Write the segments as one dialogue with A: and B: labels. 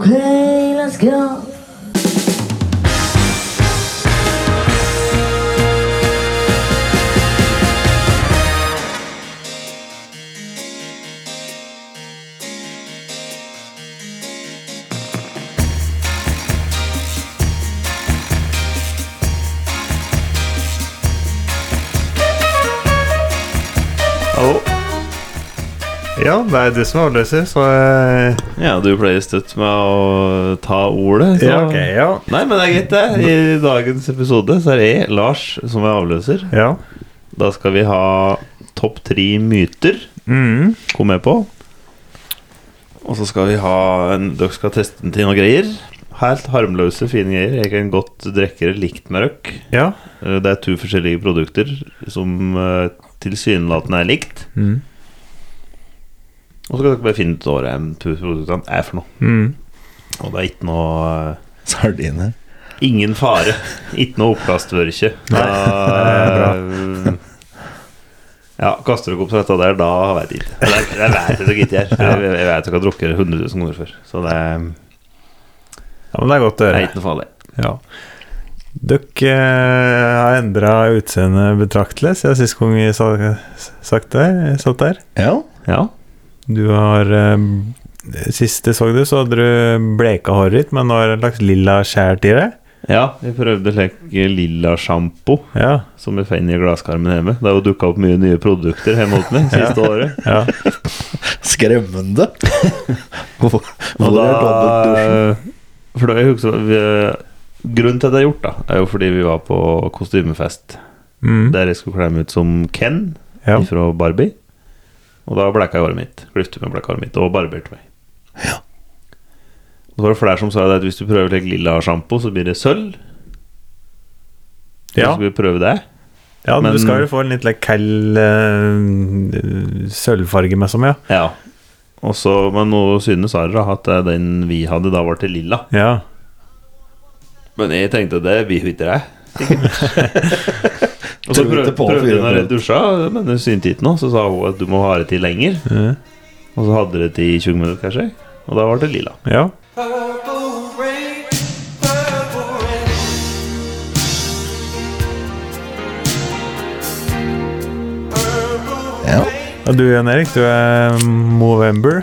A: Okay, let's go.
B: Hallo.
C: Ja, det er du som er avløser, så eh,
B: Ja, du pleier støtt med å ta ordet. Så.
C: ja, ok, ja.
B: Nei, men det er greit, det. I dagens episode så er det jeg, Lars, som er avløser.
C: ja.
B: Da skal vi ha topp tre myter.
C: Mm.
B: Kom med på. Og så skal vi ha en, Dere skal teste den til noen greier. Helt harmløse, fine greier. Jeg kan godt drikke det likt med røkk.
C: ja.
B: Eh, Det er to forskjellige produkter som eh, tilsynelatende er likt.
C: Mm.
B: Og så skal dere bare finne ut hva de to produktene er for noe.
C: Mm.
B: Og det er ikke noe eh,
D: Sardiner.
B: Ingen fare. Ikke noe oppkastvørke. Ja, kaster dere opp dette der, da veit jeg ikke. Eller, Jeg vet ikke, gitt jeg. Jeg jeg vet dere har drukket 100 000 ganger før. Så det er
C: ja, men det er godt å
B: det er
C: høre.
B: ikke noe farlig.
C: Ja. Dere eh, har endra utseende betraktelig siden sist gang vi sa, sagt der, satt der.
D: Ja.
B: Ja.
C: Du har eh, Sist jeg så du, så hadde du bleika håret ditt, men nå har du lagt lilla skjær til det.
B: ja, vi prøvde slik lilla sjampo
C: Ja.
B: som vi finner i glasskarmen hjemme. Det har jo dukka opp mye nye produkter hjemme hos meg siste året.
C: ja.
D: Skremmende. Hvor
B: Og
D: hvor
B: da
D: er dobbeltdusjen?
B: For da jeg husker, vi, Grunnen til at det er gjort, da, er jo fordi vi var på kostymefest
C: Mm.
B: der jeg skulle kle meg ut som Ken.
C: ja.
B: ifra Barbie. Og da blekka jeg håret mitt. Klyfte med blekka håret mitt og barberte meg. Og så var det flere som sa det at hvis du prøver litt lilla sjampo, så blir det sølv.
C: Ja.
B: Så skal vi prøve det.
C: ja,
B: men-
C: du skal jo få en litt like, kald eh, sølvfarge med som, ja.
B: Ja. Og så, men nå synes Sara at eh, den vi hadde, da ble til lilla.
C: Ja.
B: Men jeg tenkte det blir jo ikke det. og så
D: Tror
B: prøv,
D: ikke på
B: prøvde hun å
D: fyren.
B: retusja, men det syntes ikke noe. Så sa hun at du må ha det til lenger.
C: Mhm.
B: Og så hadde det til i 20 minutter, kanskje. Og da ble det lilla.
C: ja.
E: Purple rain, purple rain.
D: Ja.
C: Og du Jan Erik, du er Movember.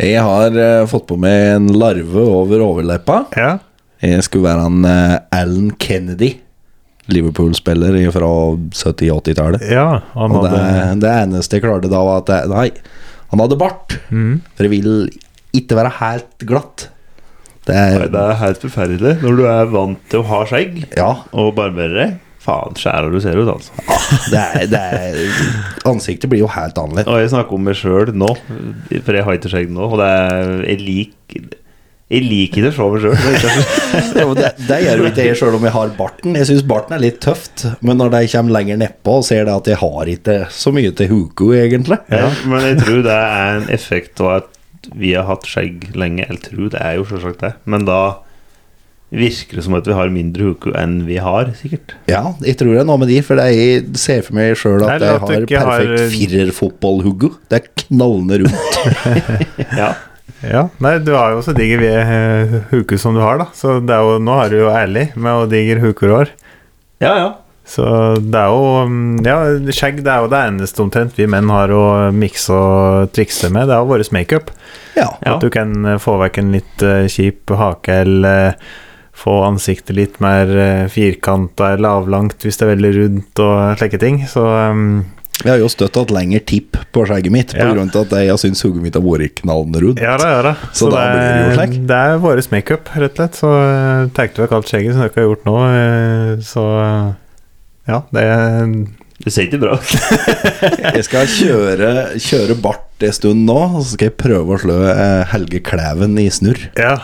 D: Jeg har eh, fått på meg en larve over overleppa.
C: Ja.
D: Jeg skulle være han eh, Alan Kennedy. Liverpool-spiller fra 70-80-tallet.
C: ja han
D: Og det,
C: hadde
D: det eneste jeg klarte da, var at jeg, Nei, han hadde bart.
C: Mhm.
D: For jeg vil ikke være helt glatt. Det er
B: Nei, det er helt forferdelig når du er vant til å ha skjegg
D: Ja,
B: og barbere deg. Faen, skjærer du ser ut, altså.
D: det er, det er Ansiktet blir jo helt annerledes.
B: Og jeg snakker om meg sjøl nå, for jeg har ikke skjegg nå, og det er Jeg liker jeg liker det fra meg sjøl.
D: Det, det, det gjør jo ikke jeg sjøl om jeg har barten. Jeg syns barten er litt tøft, men når de kommer lenger nedpå og ser det at jeg har ikke så mye til huku, egentlig
B: Men jeg tror det er en effekt av at vi har hatt skjegg lenge. Jeg tror det er jo selvsagt det, men da virker det som at vi har mindre huku enn vi har, sikkert.
D: Ja, jeg tror det er noe med de, for det er- jeg ser for meg sjøl at
C: Nei,
D: jeg
C: at du
D: har
C: ikke har-
D: perfekt firerfotballhugo. Det er knallende rundt.
B: Ja,
C: Ja, nei, du har jo så diger ved, eh, huke som du har, da. Så det er jo, nå har du jo ærlig med å diger hukerår.
B: ja. ja.
C: Så det er jo mm, Ja, skjegg det er jo det eneste omtrent vi menn har å mikse og trikse med. Det er jo vår makeup.
D: Ja.
B: Ja.
C: At du kan eh, få vekk en litt eh, kjip hake, eller eh, få ansiktet litt mer uh, firkanta eller avlangt hvis det er veldig rundt og slike ting. Så mm,
D: Jeg har jo støtt hatt lengre tipp på skjegget mitt på
C: Ja.
D: grunn av at jeg syns hodet mitt har vært knallende rundt.
C: Ja da, ja da.
D: Så da
C: det,
D: blir det jo
C: er-
D: slik.
C: det er vår makeup, rett og slett. Så uh, tar du vekk alt skjegget som dere har gjort nå, eh, så eh, Ja, det er
B: Det ser ikke bra ut.
D: Jeg skal kjøre, kjøre bart en stund nå, og så skal jeg prøve å slå eh, Helge Klæven i snurr.
C: Ja.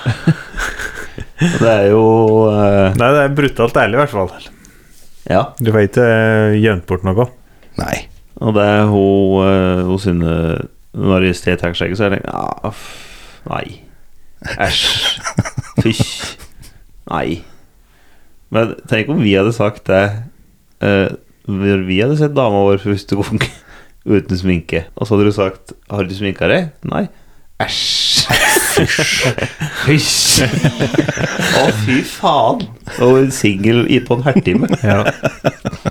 B: Det er jo eh,
C: Nei, det er brutalt ærlig, i hvert fall.
B: Ja.
C: Du får ikke eh, gjemt bort noe.
D: Nei.
B: Og det er hun, eh, hun synes Når jeg sted tar skjegget, så er det ja, f- Nei. Æsj. Fysj. Nei. Men tenk om vi hadde sagt det eh, Når vi hadde sett dama vår første gang uten sminke, og så hadde du sagt 'Har du sminka deg?' Nei. Æsj. Hysj! Å, fy faen! Og en singel i- på en halvtime.
C: Ja.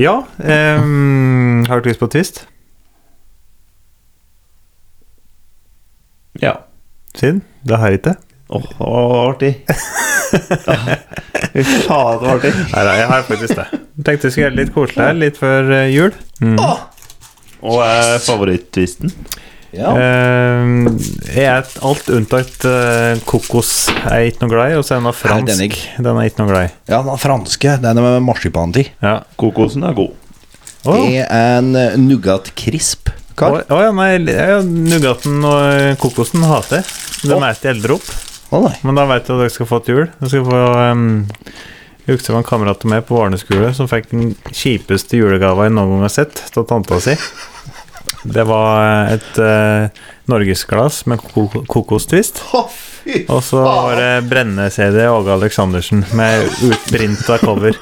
C: ja ehm, har du lyst på twist?
B: Ja.
C: Synd, det har jeg ikke.
B: Åh, det var artig. Åh, Fy faen, det var artig.
C: Nei da, jeg har faktisk det. Tenkte vi skulle gjøre det litt koselig her litt før eh, jul.
B: Og eh, favoritt-twisten?
D: Ja.
C: Ehm, jeg er et- alt unntatt eh, kokos. Jeg er ikke noe glad i, og så er den av
D: Nei, den er
C: fransk.
D: ikke.
C: Den er ikke noe glad i.
D: ja, den franske. Den med marsipan til.
C: Ja.
B: Kokosen er god.
C: Å
D: Det er en eh, nougat crisp. Karl.
C: å- å ja, nei, ja, nougaten og eh, kokosen hater jeg. Den er ikke eldre opp.
D: Å nei.
C: Men da veit jeg at dere skal få til jul. Dere skal få um, Jeg husker det var en kamerat av meg på Varnes skole som fikk den kjipeste julegava jeg noen gang har sett av tanta si. Det var et eh, norgesglass med ko- kokostvist. Og så var det brenne-CD Åge Aleksandersen med utprinta cover.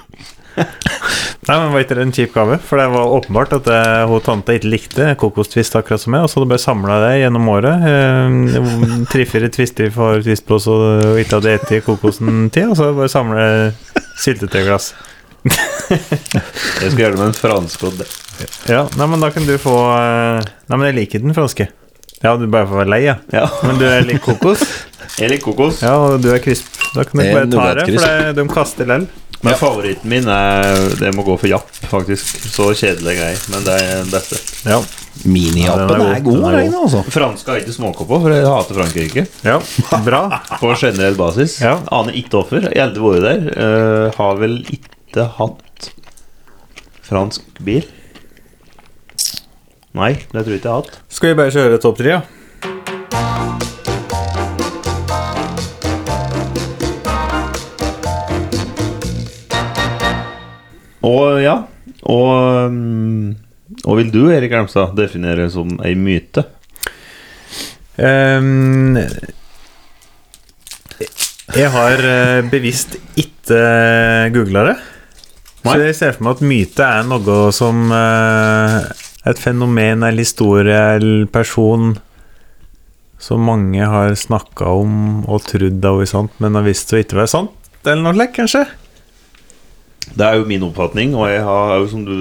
C: Nei, men Var ikke det en kjip gave? For det var åpenbart at det, hun tante ikke likte kokostvist, akkurat som meg, og så hadde hun bare samla det gjennom året. Eh, Tre-fire tvister for tvistblås og og ikke hadde spist kokosen til, og så bare samle syltetøyglass.
B: Jeg skal gjøre det med en franskodd.
C: Ja, nei, men da kan du få eh, Nei, men jeg liker den franske. Ja, du bare får være lei, ja.
B: Ja.
C: Men du er litt kokos,
B: Jeg liker kokos.
C: ja, og du er krisp. Da kan du
D: Det er
C: bare ta det,
D: nougat-krisp.
C: for det, de kaster lell.
B: Men favoritten min er Det må gå for Japp, faktisk. Så kjedelig greier, men det er den beste.
C: Ja. Ja,
D: Miniappen
C: den er
D: er
C: god,
D: god,
C: den er
D: den,
C: god.
D: altså.
B: Franske har jeg ikke småkopp på, for jeg hater Frankrike.
C: ja. Bra.
B: På generell basis.
C: Ja.
B: Aner ikke hvorfor. Jeg har aldri vært der. Eh, har vel ikke hatt fransk bil. Nei, det tror jeg ikke jeg har hatt.
C: Skal vi bare kjøre topp tre, ja?
B: Og ja Og, mm, og vil du, Erik Elmstad, definere som ei myte?
C: Ehm, jeg har eh, bevisst ikke googla det. Så
B: Nei.
C: jeg ser for meg at myte er noe som eh, Et fenomen eller historie eller person som mange har snakka om og trodd av er sant, men har visst å ikke være sant, eller noe slikt, kanskje?
B: Det er jo min oppfatning, og jeg har jo, som du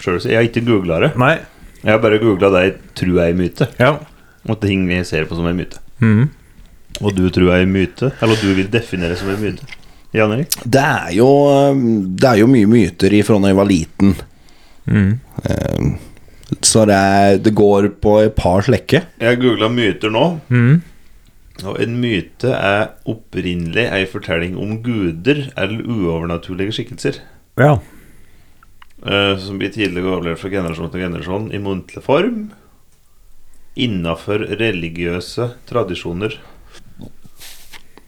B: sjøl sier, jeg har ikke googla det.
C: Nei.
B: Jeg har bare googla det jeg tror er ei myte,
C: Ja.
B: og ting jeg ser på som ei myte.
C: Mhm.
B: Og du tror er ei myte? Eller du vil definere som ei myte? Jan Erik?
D: Det er jo eh, Det er jo mye myter ifra da jeg var liten.
C: Mhm.
D: Eh, Så det, er, det går på et par slekke.
B: Jeg googla myter nå,
C: Mhm.
B: og en myte er opprinnelig ei fortelling om guder eller uovernaturlige skikkelser.
C: ja.
B: eh, som blir tidligere overlevert fra generasjon til generasjon i muntlig form. Innafor religiøse tradisjoner.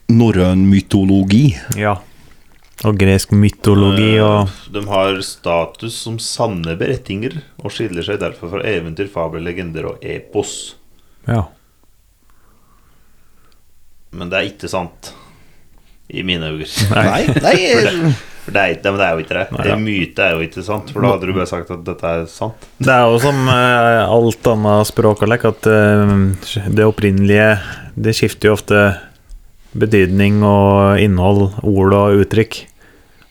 D: Norrøn mytologi.
C: Ja. Og gresk mytologi og
B: Eh, De har status som sanne berettinger og skiller seg derfor fra eventyr, fabler, legender og epos.
C: Ja.
B: Men det er ikke sant. I mine øyne.
D: Nei, nei
B: For det, er, ikke- men det er jo ikke det.
C: Nei,
B: det
C: ja.
B: myte er jo ikke sant, for da hadde du bare sagt at dette er sant.
C: Det er jo som eh, alt annet språk og lek, at eh, det opprinnelige Det skifter jo ofte betydning og innhold, ord og uttrykk.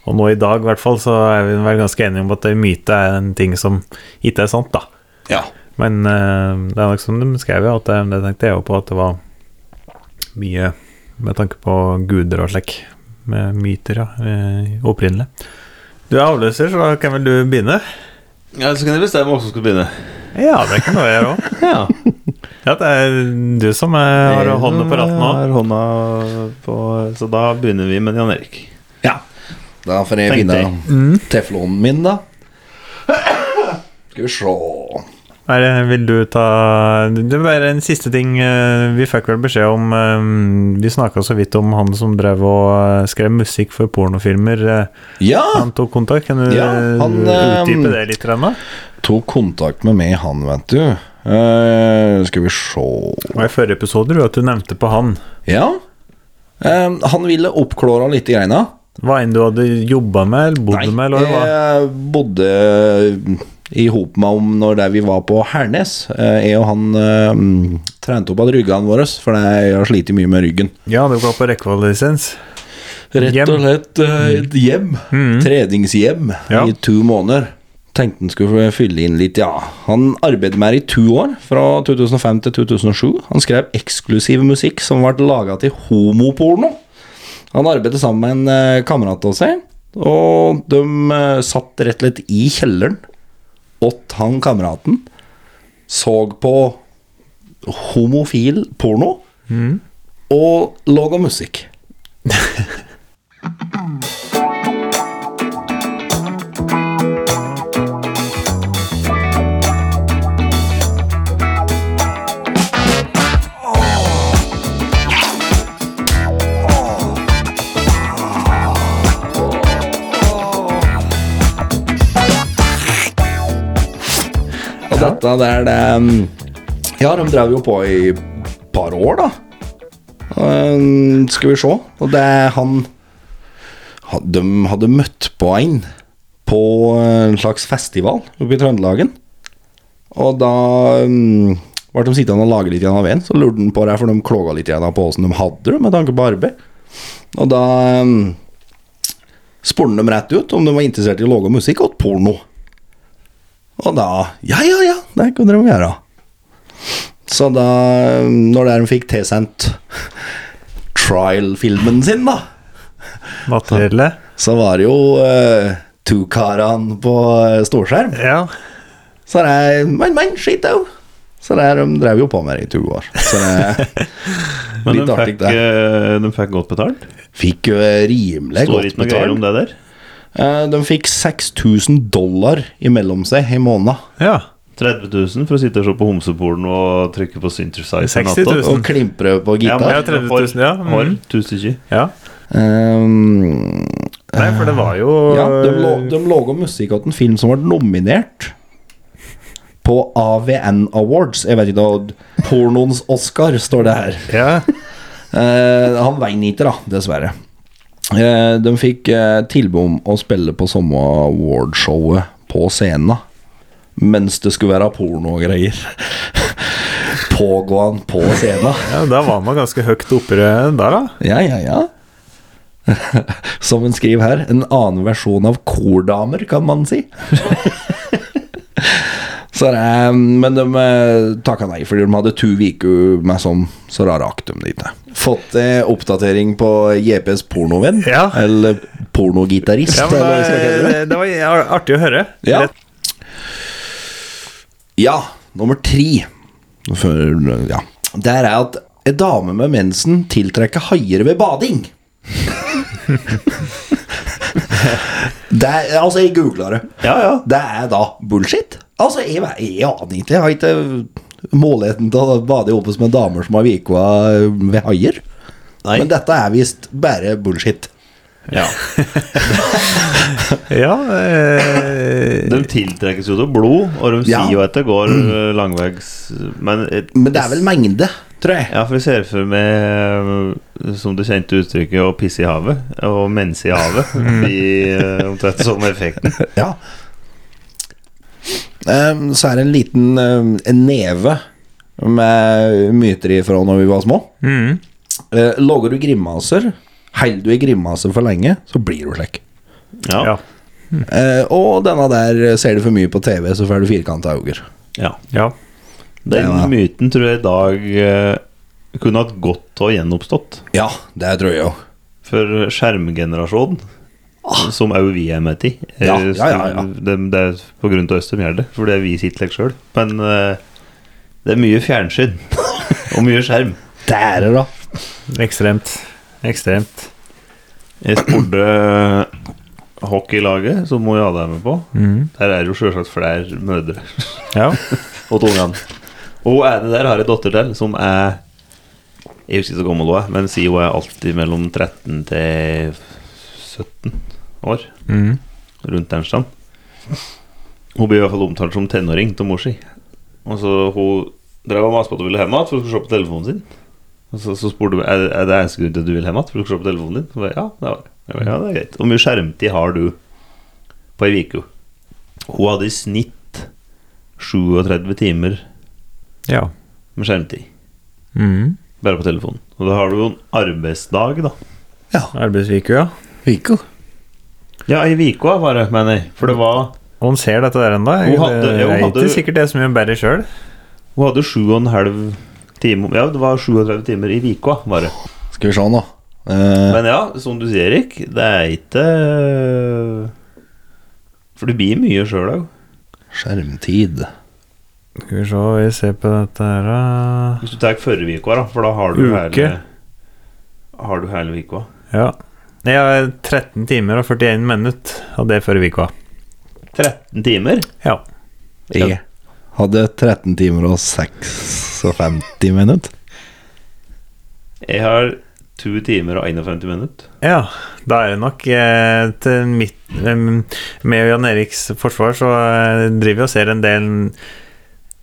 C: Og nå i dag, i hvert fall, så er vi vel ganske enige om at en myte er en ting som ikke er sant, da.
D: Ja.
C: Men eh, det er nok som de skrev, ja, at det, det tenkte jeg jo på, at det var mye med tanke på guder og slik. Med myter, ja. eh, Opprinnelig. Du er avløser, så da kan vel du begynne?
B: Ja, Så kan jeg bestemme hvem som skal begynne.
C: Ja, det kan du gjøre òg.
B: Ja.
C: Ja, det er du som er, har hånda på rattet nå.
B: Jeg har hånda på- Så da begynner vi med Jan Erik.
D: ja. Da får jeg
B: Tenkte
D: finne
B: jeg.
D: Mm. teflonen min, da. Skal vi se
C: Er, det- vil du ta Det er bare en siste ting. eh, Vi fikk vel beskjed om eh, Vi snakka så vidt om han som drev og eh, skrev musikk for pornofilmer. eh,
D: Ja!
C: Han tok kontakt. Kan du
D: Ja, han,
C: eh, utdype
D: ehm,
C: det litt? Rena?
D: Tok kontakt med meg, han, vet du. Eh, skal vi se
C: Det var i forrige episode du, at du nevnte på han.
D: Ja. Eh, han ville oppklåra litt i greina.
C: Hva enn du hadde jobba med eller bodd med? Eller hva? det var.
D: jeg bodde i hop med om når det vi var på Hernes. Eh, Jeg og han eh, mm, trente opp av ryggene våre, for det- jeg har slitt mye med ryggen.
C: Ja, du går på rekkevalglisens.
D: Rett og
C: Hjem. Mm.
D: slett eh, et hjem. Treningshjem
C: Ja.
D: i to måneder. Tenkte han skulle fylle inn litt, ja. Han arbeidet med det i to år, fra 2005 til 2007. Han skrev eksklusiv musikk som ble laga til homoporno. Han arbeidet sammen med en eh, kamerat av seg, og de eh, satt rett og slett i kjelleren åt han kameraten, så på homofil porno
C: Mm.
D: og laga musikk. Og dette der det um, Ja, de drev jo på i et par år, da. Um, Skal vi se. Og det er han ha- De hadde møtt på en på eh, en slags festival oppe i Trøndelagen. Og da um, ble de sittende og lage litt igjen av veden. Så lurte han på det, for de klaga litt igjen på åssen de hadde det med tanke på arbeid. Og da um, spurte de rett ut om de var interessert i å lage musikk og porno. Og da Ja, ja, ja, det kunne de gjøre. Så da, når de fikk tilsendt trial-filmen sin, da,
C: Materiellet.
D: så var det jo uh, to-karene på eh, storskjerm.
C: Ja.
D: Så det er Men, men, skitt au! Så det er, de drev jo på med det i to år. Så det
B: Men
D: Litt
B: de
D: artig,
B: fikk, eh, de fikk godt betalt.
D: fikk jo rimelig
B: Står
D: godt
B: ikke noe greier om det
D: betalt.
B: der.
D: Eh, de fikk 6000 dollar imellom seg i måneden.
C: ja.
B: 30 000 for å sitte og se på homseporno og trykke på synthesizer.
C: 60 000.
D: Og klimpre på
B: Ja,
D: gitar.
B: men
C: Ja, 30 000, ja. Mm.
B: Har tusen ikke.
C: ja.
D: Um,
C: Nei, for det var jo
D: Ja, de, lå- de laga musikk til en film som var nominert på AVN Awards. Jeg vet ikke hva Pornoens Oscar står det her.
C: Ja.
D: Eh, han vant ikke, da, dessverre. Eh, de fikk eh, tilbud om å spille på samme awardshowet på scenen. da. Mens det skulle være porno og greier. Pågående på scenen.
C: ja, da var man ganske høyt oppe der, da.
D: Ja, ja, ja. Som hun skriver her, en annen versjon av kordamer, kan man si. så det, er- um, men de eh, takka nei, fordi de hadde to uker med sånn, så da rakk de det ikke. Fått eh, oppdatering på JPs pornovenn,
C: Ja.
D: eller pornogitarist,
C: Ja, men
D: eller hva vi skal
C: det,
D: kalle det.
C: det, det var artig å høre.
D: Ja.
C: Rett-
D: Ja, nummer tre. For, ja. Der er at en dame med mensen tiltrekker haier ved bading. det er, altså, jeg googla det.
B: Ja, ja.
D: Det er da bullshit. Altså, jeg, vet- jeg aner ikke. Jeg har ikke muligheten til å bade i opus med damer som har vika ved haier.
B: Nei.
D: Men dette er visst bare bullshit.
B: Ja.
C: Ja, eh,
B: De tiltrekkes jo til blod, og de
D: Ja. Mm.
B: sier jo at det går eh, langveis Men, et-
D: Men det er vel mengde, tror jeg.
B: Ja, for jeg ser for meg, eh, som det kjente uttrykket, å pisse i havet og mense i havet. Blir eh, omtrent samme effekten.
D: Ja. Ehm, så er det en liten ehm, en neve med myter ifra når vi var små.
C: mm.
D: Eh, lager du grimaser, holder du i grimaser for lenge, så blir du slik.
B: Ja.
C: ja.
D: Eh, og denne der ser du for mye på TV, så får du firkanta auger.
B: ja.
C: ja.
B: Den
D: Ja.
B: myten tror jeg i dag eh, kunne hatt godt av gjenoppstått.
D: Ja, det tror jeg jo.
B: For skjermgenerasjonen, som òg vi er med i eh,
D: Ah. Ja, ja, ja, ja.
B: Det, det er på grunn av oss de gjør det, fordi vi sitter like sjøl. Men eh, det er mye fjernsyn og mye skjerm.
D: Det er det, da.
C: Ekstremt. Ekstremt.
B: Jeg spurte eh, hockeylaget, som hun hadde med på.
C: Mm.
B: Der er jo sjølsagt flere mødre
C: Ja.
B: og ungene. Og hun ene der har en datter til som er Jeg husker ikke så gammel hun er, men sier hun er alltid mellom 13 til 17 år.
C: Mm.
B: Rundt den stand. Hun blir i hvert fall omtalt som tenåring til mor si. Og så hun drev og maste på at hun ville hjem igjen, for hun skulle se på telefonen sin. Og så, så spurte hun er, er det eneste grunn til at du vil hjem igjen, for du skulle se på telefonen din. Så ba, jeg, ja, det var det. Jeg ba, ja, det er greit. Hvor mye skjermtid har du på ei uke? Hun hadde i snitt 37 timer
C: Ja.
B: med skjermtid.
C: Mm.
B: Bare på telefonen. Og da har du jo en arbeidsdag, da.
C: Arbeidsuke, ja.
D: Viko.
B: Ja, ei uke var det, mener jeg. For det var
C: Og hun ser dette der ennå. Jeg,
B: Hun hadde-
C: jeg
B: hun
C: vet
B: hadde-
C: ikke sikkert det er så mye bedre sjøl.
B: Hun hadde sju og en halv time Ja, det var 37 timer i uka, var det.
D: Skal vi se nå. Eh,
B: Men ja, som du sier, Erik, det er ikke For det blir mye sjøl òg.
D: skjermtid.
C: Skal vi se, vi ser på dette her da.
B: Hvis du tar forrige uke, da, for da har du
C: Uke.
B: hele Har du hele uka.
C: Ja. Jeg har 13 timer og 41 minutter, og det er før uka.
B: 13 timer?
C: Ja.
D: Jeg hadde 13 timer og 56 minutter.
B: Jeg har to timer og 51 minutter.
C: ja. Da er det nok eh, til mitt eh, Med Jan Eriks forsvar så eh, driver vi og ser en del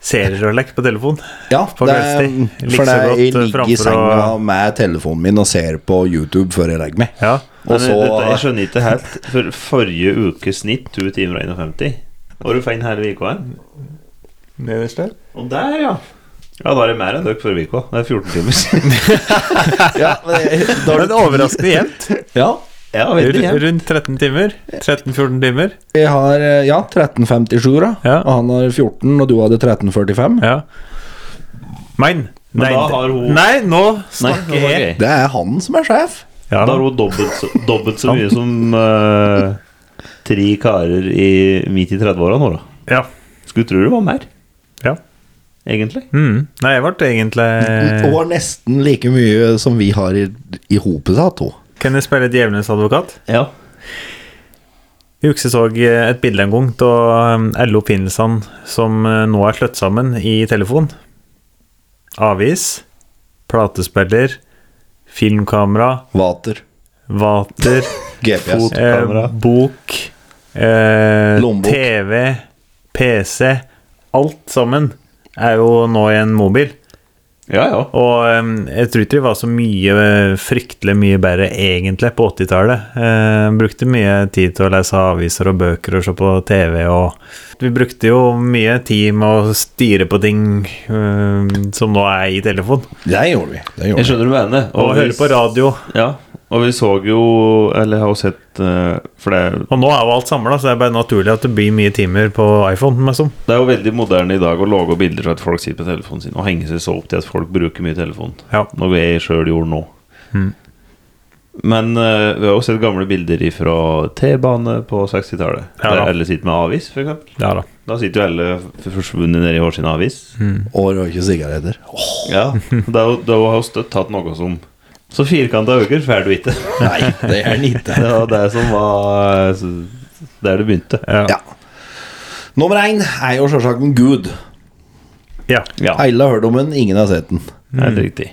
C: serier og lekk på telefon.
D: Ja,
C: På
D: det er,
C: kveldstid. Like
D: for det
C: så
D: er,
C: godt,
D: jeg
C: eh,
D: ligger i
C: framfor
D: senga
C: å-
D: med telefonen min og ser på YouTube før jeg legger meg.
C: Ja.
D: Og
B: Men eh, dette, jeg
D: så
B: skjønner ikke helt. For forrige ukes snitt, to timer og 51. Og du finner hele uka her.
C: Nederst der?
B: Og der, ja. Ja, da er det mer enn dere forrige uke. Det er 14 timer.
D: ja, men jeg- da
C: Det
D: har
C: er
D: du-
C: en overraskende jevnt.
D: Ja,
B: ja, vet du,
C: Ru-
B: ja.
C: Rundt 13 timer. 13-14 timer.
D: jeg har eh, ja, 1357, da.
C: Ja.
D: Og han har 14, og du hadde 1345.
C: Ja. Men,
B: Men
C: nei,
B: da har hun-
C: Nei, nå
B: Nei,
C: snakker
B: det var
C: jeg.
B: gøy.
D: Det er han som er sjef.
C: Ja,
B: Da har hun dobbelt, så- dobbelt så mye som eh, tre karer i, midt i 30-åra nå, da.
C: ja.
B: Skulle tro det var mer,
C: ja.
B: egentlig.
C: Mm. Nei, jeg ble egentlig
D: Mm, Og har nesten like mye som vi har i, i hopet, sa to.
C: Kan jeg spille et djevelens advokat?
B: Ja.
C: Jeg husker jeg så et bilde en gang av um, alle oppfinnelsene som eh, nå er slått sammen i telefon. Avis, platespiller, filmkamera,
D: Vater,
C: vater,
D: GPS.
B: Fot.
C: eh,
B: Kamera.
C: bok, eh,
D: Lommebok.
C: TV, PC Alt sammen er jo nå i en mobil.
B: Ja, ja.
C: Og ehm, jeg tror ikke det var så mye eh, fryktelig mye bedre egentlig på 80-tallet. Eh, brukte mye tid til å lese aviser og bøker og se på TV og Vi brukte jo mye tid med å styre på ting ehm, som nå er i telefon.
D: Det gjorde vi. Det
B: Jeg
D: gjorde vi.
B: skjønner hva du mener.
C: Og
B: vi-
C: høre på radio.
B: Ja. Og vi så jo Eller har jo sett eh, For det er,
C: Og nå er jo alt samla, så det er bare naturlig at det blir mye timer på iPhone. sånn. Men som.
B: det er jo veldig moderne i dag å lage bilder fra at folk sitter på telefonen sin og henger seg så opp til at folk bruker mye telefon.
C: Ja.
B: Noe jeg sjøl gjorde nå. Mm. Men eh, vi har også sett gamle bilder fra T-bane på 60-tallet.
C: Ja, da.
B: der alle sitter med avis, for eksempel
C: ja da.
B: Da sitter jo alle f- forsvunnet nedi hver sin avis.
D: Og røyke sigaretter. Åh,
B: Ja, det er jo- det er jo- har jo støtt tatt noe som Så firkanta øker får du ikke.
D: nei, det er den ikke.
B: Det var det som var eh, så- der det begynte.
C: Ja.
D: Ja. Nummer én er jo selvsagt en gud.
C: Ja.
B: Ja, helt
D: Alle har hørt om den, ingen har sett den.
B: riktig.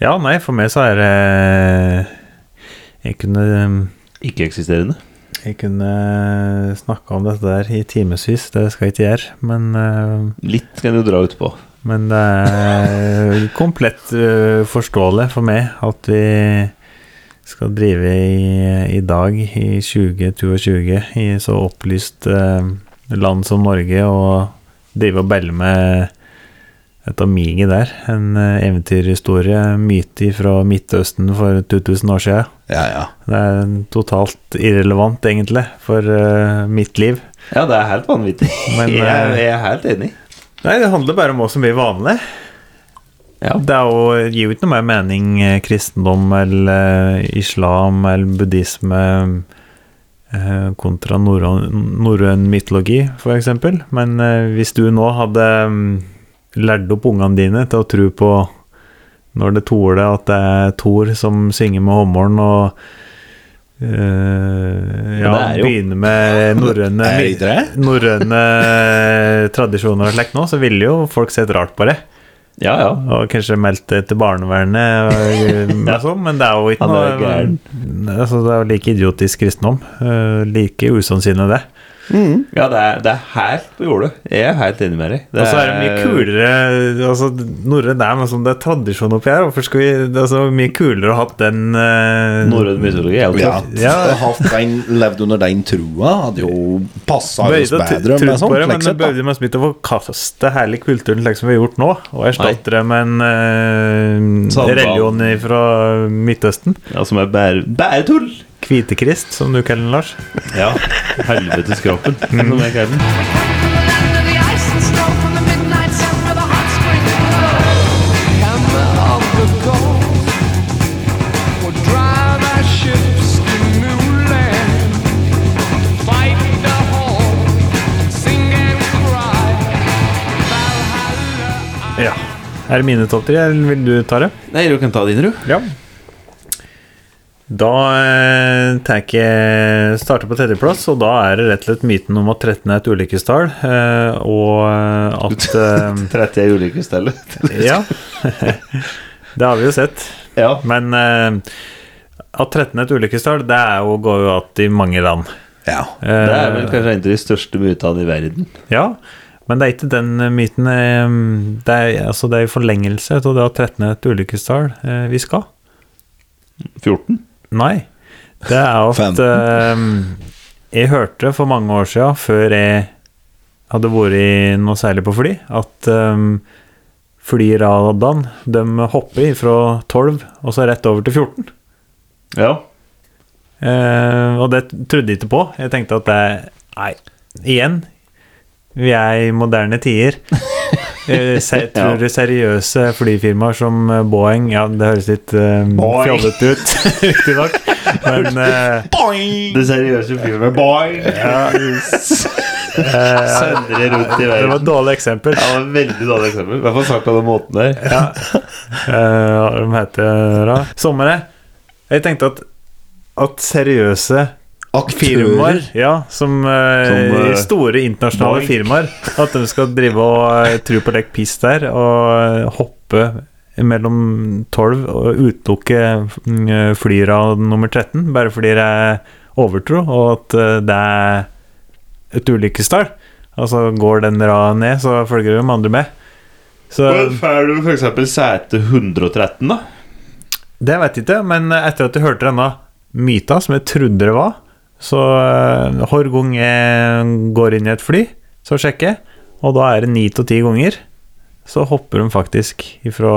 C: ja, nei, for meg så er det Jeg kunne ehm,
B: Ikke-eksisterende.
C: Jeg kunne snakka om dette der i timevis, det skal jeg ikke gjøre. Men, eh,
B: Litt kan du dra ut på.
C: men det er komplett eh, forståelig for meg at vi skal drive i, i dag, i 2022, i så opplyst eh, land som Norge, og drive og belle med et amigi der. En eh, eventyrhistorie, myte fra Midtøsten for 2000 år siden.
D: Ja, ja.
C: Det er totalt irrelevant, egentlig, for eh, mitt liv.
B: Ja, det er helt vanvittig.
C: Men,
B: jeg,
C: eh,
B: er- jeg er helt enig.
C: Nei, det handler bare om hva som blir vanlig.
B: Ja.
C: Det er jo, gir jo ikke noe mer mening eh, kristendom eller eh, islam eller buddhisme eh, kontra norrøn norrøn mytologi, f.eks. Men eh, hvis du nå hadde mm, lært opp ungene dine til å tro på når det toler at det er Thor som synger med hammeren og eh, ja,
B: det er jo-
C: begynner med norrøne
D: Er det ikke det?
C: norrøne tradisjoner og slikt nå, så ville jo folk sett rart på det.
B: Ja, ja.
C: Og kanskje meldt det til barnevernet, og, og sånn, men det er jo ikke
B: Han er
C: noe
B: gæren.
C: altså, Det er jo like idiotisk kristendom. eh, like usannsynlig, det.
B: Ja, det er, det er helt på jordet. Jeg er helt enig med deg.
C: Og så er det mye kulere altså, Norrøn er men sånn, det er tradisjon oppi her. Hvorfor skal vi Det er så mye kulere å ha hatt den eh,
B: Norrøn mytologi er jo
D: Ja,
B: tøft.
C: Ja.
D: å ha den, levd under den trua hadde jo passa oss
C: Bøyde til-
D: bedre.
C: til
D: Med sånt,
C: sporet, men det
D: slik sett, sånn da.
C: bøyde meg smitt å forkaste hele kulturen slik som vi har gjort nå, og erstatte det med en eh,
B: Sambal.
C: religion fra Midtøsten.
B: Ja, som er bære, bæretull!
C: Hvitekrist, som du kaller den, Lars.
B: Ja. Helvetes kroppen,
C: Mm.
B: som jeg kaller den.
F: We come from the land of the ice and snow, from the midnight sun, from the hot spring flood.
E: Hammer of the gold will drive our ships to new land. Fight the horn, sing and cry. Valhalla.
C: Ja. Er det mine topp tre, eller vil du ta det?
B: Nei, du kan ta din, du.
C: Ja. Da eh, tar jeg ikke starter på tredjeplass, og da er det rett og slett myten om at 13 er et ulykkestall, eh, og eh, at eh,
B: 30 er ulykkesstellet.
C: Ja. Det har vi jo sett.
B: Ja.
C: Men eh, at 13 er et ulykkestall, det er jo, går jo att i mange land. Eh,
D: Ja.
B: Det er vel kanskje en av de største mytene i verden.
C: Ja, men det er ikke den eh, myten eh, Det er, altså, det er i forlengelse av det at 13 er et ulykkestall eh, vi skal.
B: 14?
C: Nei. Det er at eh, Jeg hørte for mange år siden, før jeg hadde vært i noe særlig på fly, at um, flyradarene de hopper fra 12 og så rett over til 14.
B: Ja.
C: Eh, og det trodde jeg ikke på. Jeg tenkte at det Nei, igjen. Vi er i moderne tider. Eh, se- Tror du seriøse flyfirmaer som eh, Boeing Ja, det høres litt eh,
B: Boeing.
C: fjollete ut, riktignok, men eh,
B: Det seriøse filmet Boy! Ja. Sendere rundt i
C: det var
B: verden.
C: et dårlig eksempel.
B: Det var et veldig dårlig eksempel. I hvert fall sagt på den måten der.
C: Ja. Eh, hva de heter da? Sommere. Jeg tenkte at at seriøse firmaer
D: Aktører.
C: ja, som, eh,
B: Som, eh,
C: store internasjonale
B: Boeing.
C: firmaer. At de skal drive og eh, tro på lek piss der og eh, hoppe mellom tolv og utelukke mm, eh, flyra nummer 13 bare fordi det er overtro, og at eh, det er et ulykkestall. Altså går den ra ned, så følger de andre med. Så
B: Men får du f.eks. sete 113, da?
C: det vet jeg ikke, men etter at jeg hørte denne myta, som jeg trodde det var, så eh, hver gang jeg går inn i et fly, så sjekker jeg, og da er det ni til ti ganger, så hopper de faktisk fra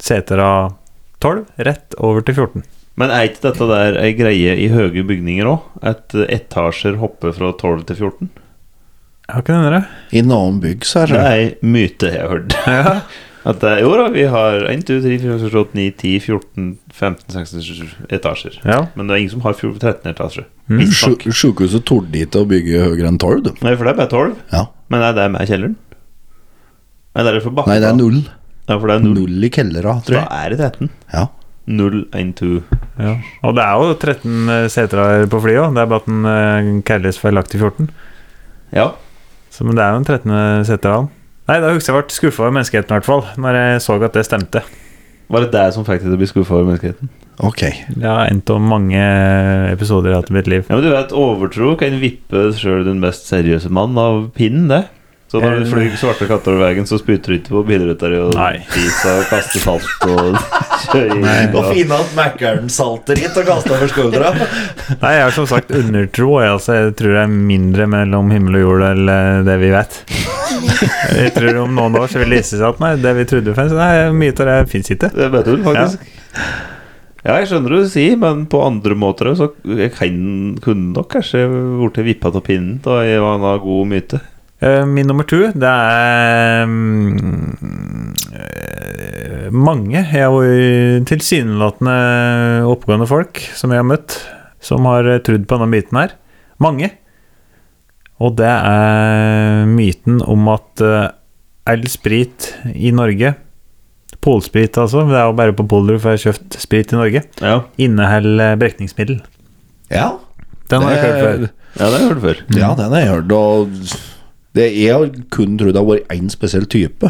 C: seter av 12 rett over til 14.
B: Men er ikke dette der ei greie i høye bygninger òg? At eh, etasjer hopper fra 12 til 14?
C: Jeg har ikke den der.
D: I en annen bygg, så er
B: Det
D: det
B: er ei myte jeg har hørt. At det, jo da, vi har 1, 2, 3, 4, 5, 6, 8, 9, 10, 14, 15, 16, 17 etasjer.
C: Ja. Mm.
B: Men det er ingen som har 14 13 etasjer. Visstnok.
D: Sju- Sjukehuset torde ikke å bygge høyere enn tolv. du.
B: Nei, for det er bare 12.
D: Ja.
B: Men er det med kjelleren? Eller er det for bakka?
D: Nei, det er null.
B: Ja, for det er null.
D: Null i kellera, tror
B: Da
D: jeg.
B: er det 13.
D: Ja.
B: 0, 1, 2
C: Ja. Og det er jo 13 seter på flyet, også, det er bare at den eh, kalles feilaktig 14.
B: Ja.
C: Så, men det er jo den 13. seter av den. Nei, da husker jeg jeg ble skuffet over menneskeheten i hvert fall, når jeg så at det stemte.
B: Var det deg som fikk deg til å bli skuffa over menneskeheten?
D: Ok.
C: Jeg har endt om mange episoder jeg har hatt i mitt liv.
B: Ja, men du vet, Overtro kan vippe sjøl den mest seriøse mann av pinnen, det. Så når du
C: Eh.
B: flyr svarte katter over veien, så spytter du ikke på bilruta di og
C: Nei.
B: fiser og kaster salt og kjører inn. og-
D: fine at Mækkern salter hit og kaster over skuldra.
C: Nei, jeg har som sagt undertro. Jeg, altså, jeg tror det er mindre mellom himmel og jord enn eh, det vi vet. Jeg tror om noen år så vil det vise seg at nei, det vi trodde fins, nei, mye av det fins ikke.
B: Det er bedre, faktisk. Ja. jeg skjønner hva du sier, men på andre måter så jeg kan, kunne nok kanskje blitt vippa av pinnen da jeg var en god myte.
C: Eh, Min nummer to, det er mm, eh, mange. Jeg har vært tilsynelatende oppegående folk som jeg har møtt, som har eh, trodd på denne myten her. Mange. Og det er myten om at eh, all sprit i Norge Polsprit, altså. Det er jo bare på Polder du får kjøpt sprit i Norge.
B: Ja,
C: Inneholder brekningsmiddel.
D: Ja.
C: Den har jeg ikke hørt før.
B: ja det har du før.
D: ja, den har jeg hørt. Og det jeg har kun trodd det har vært én spesiell type.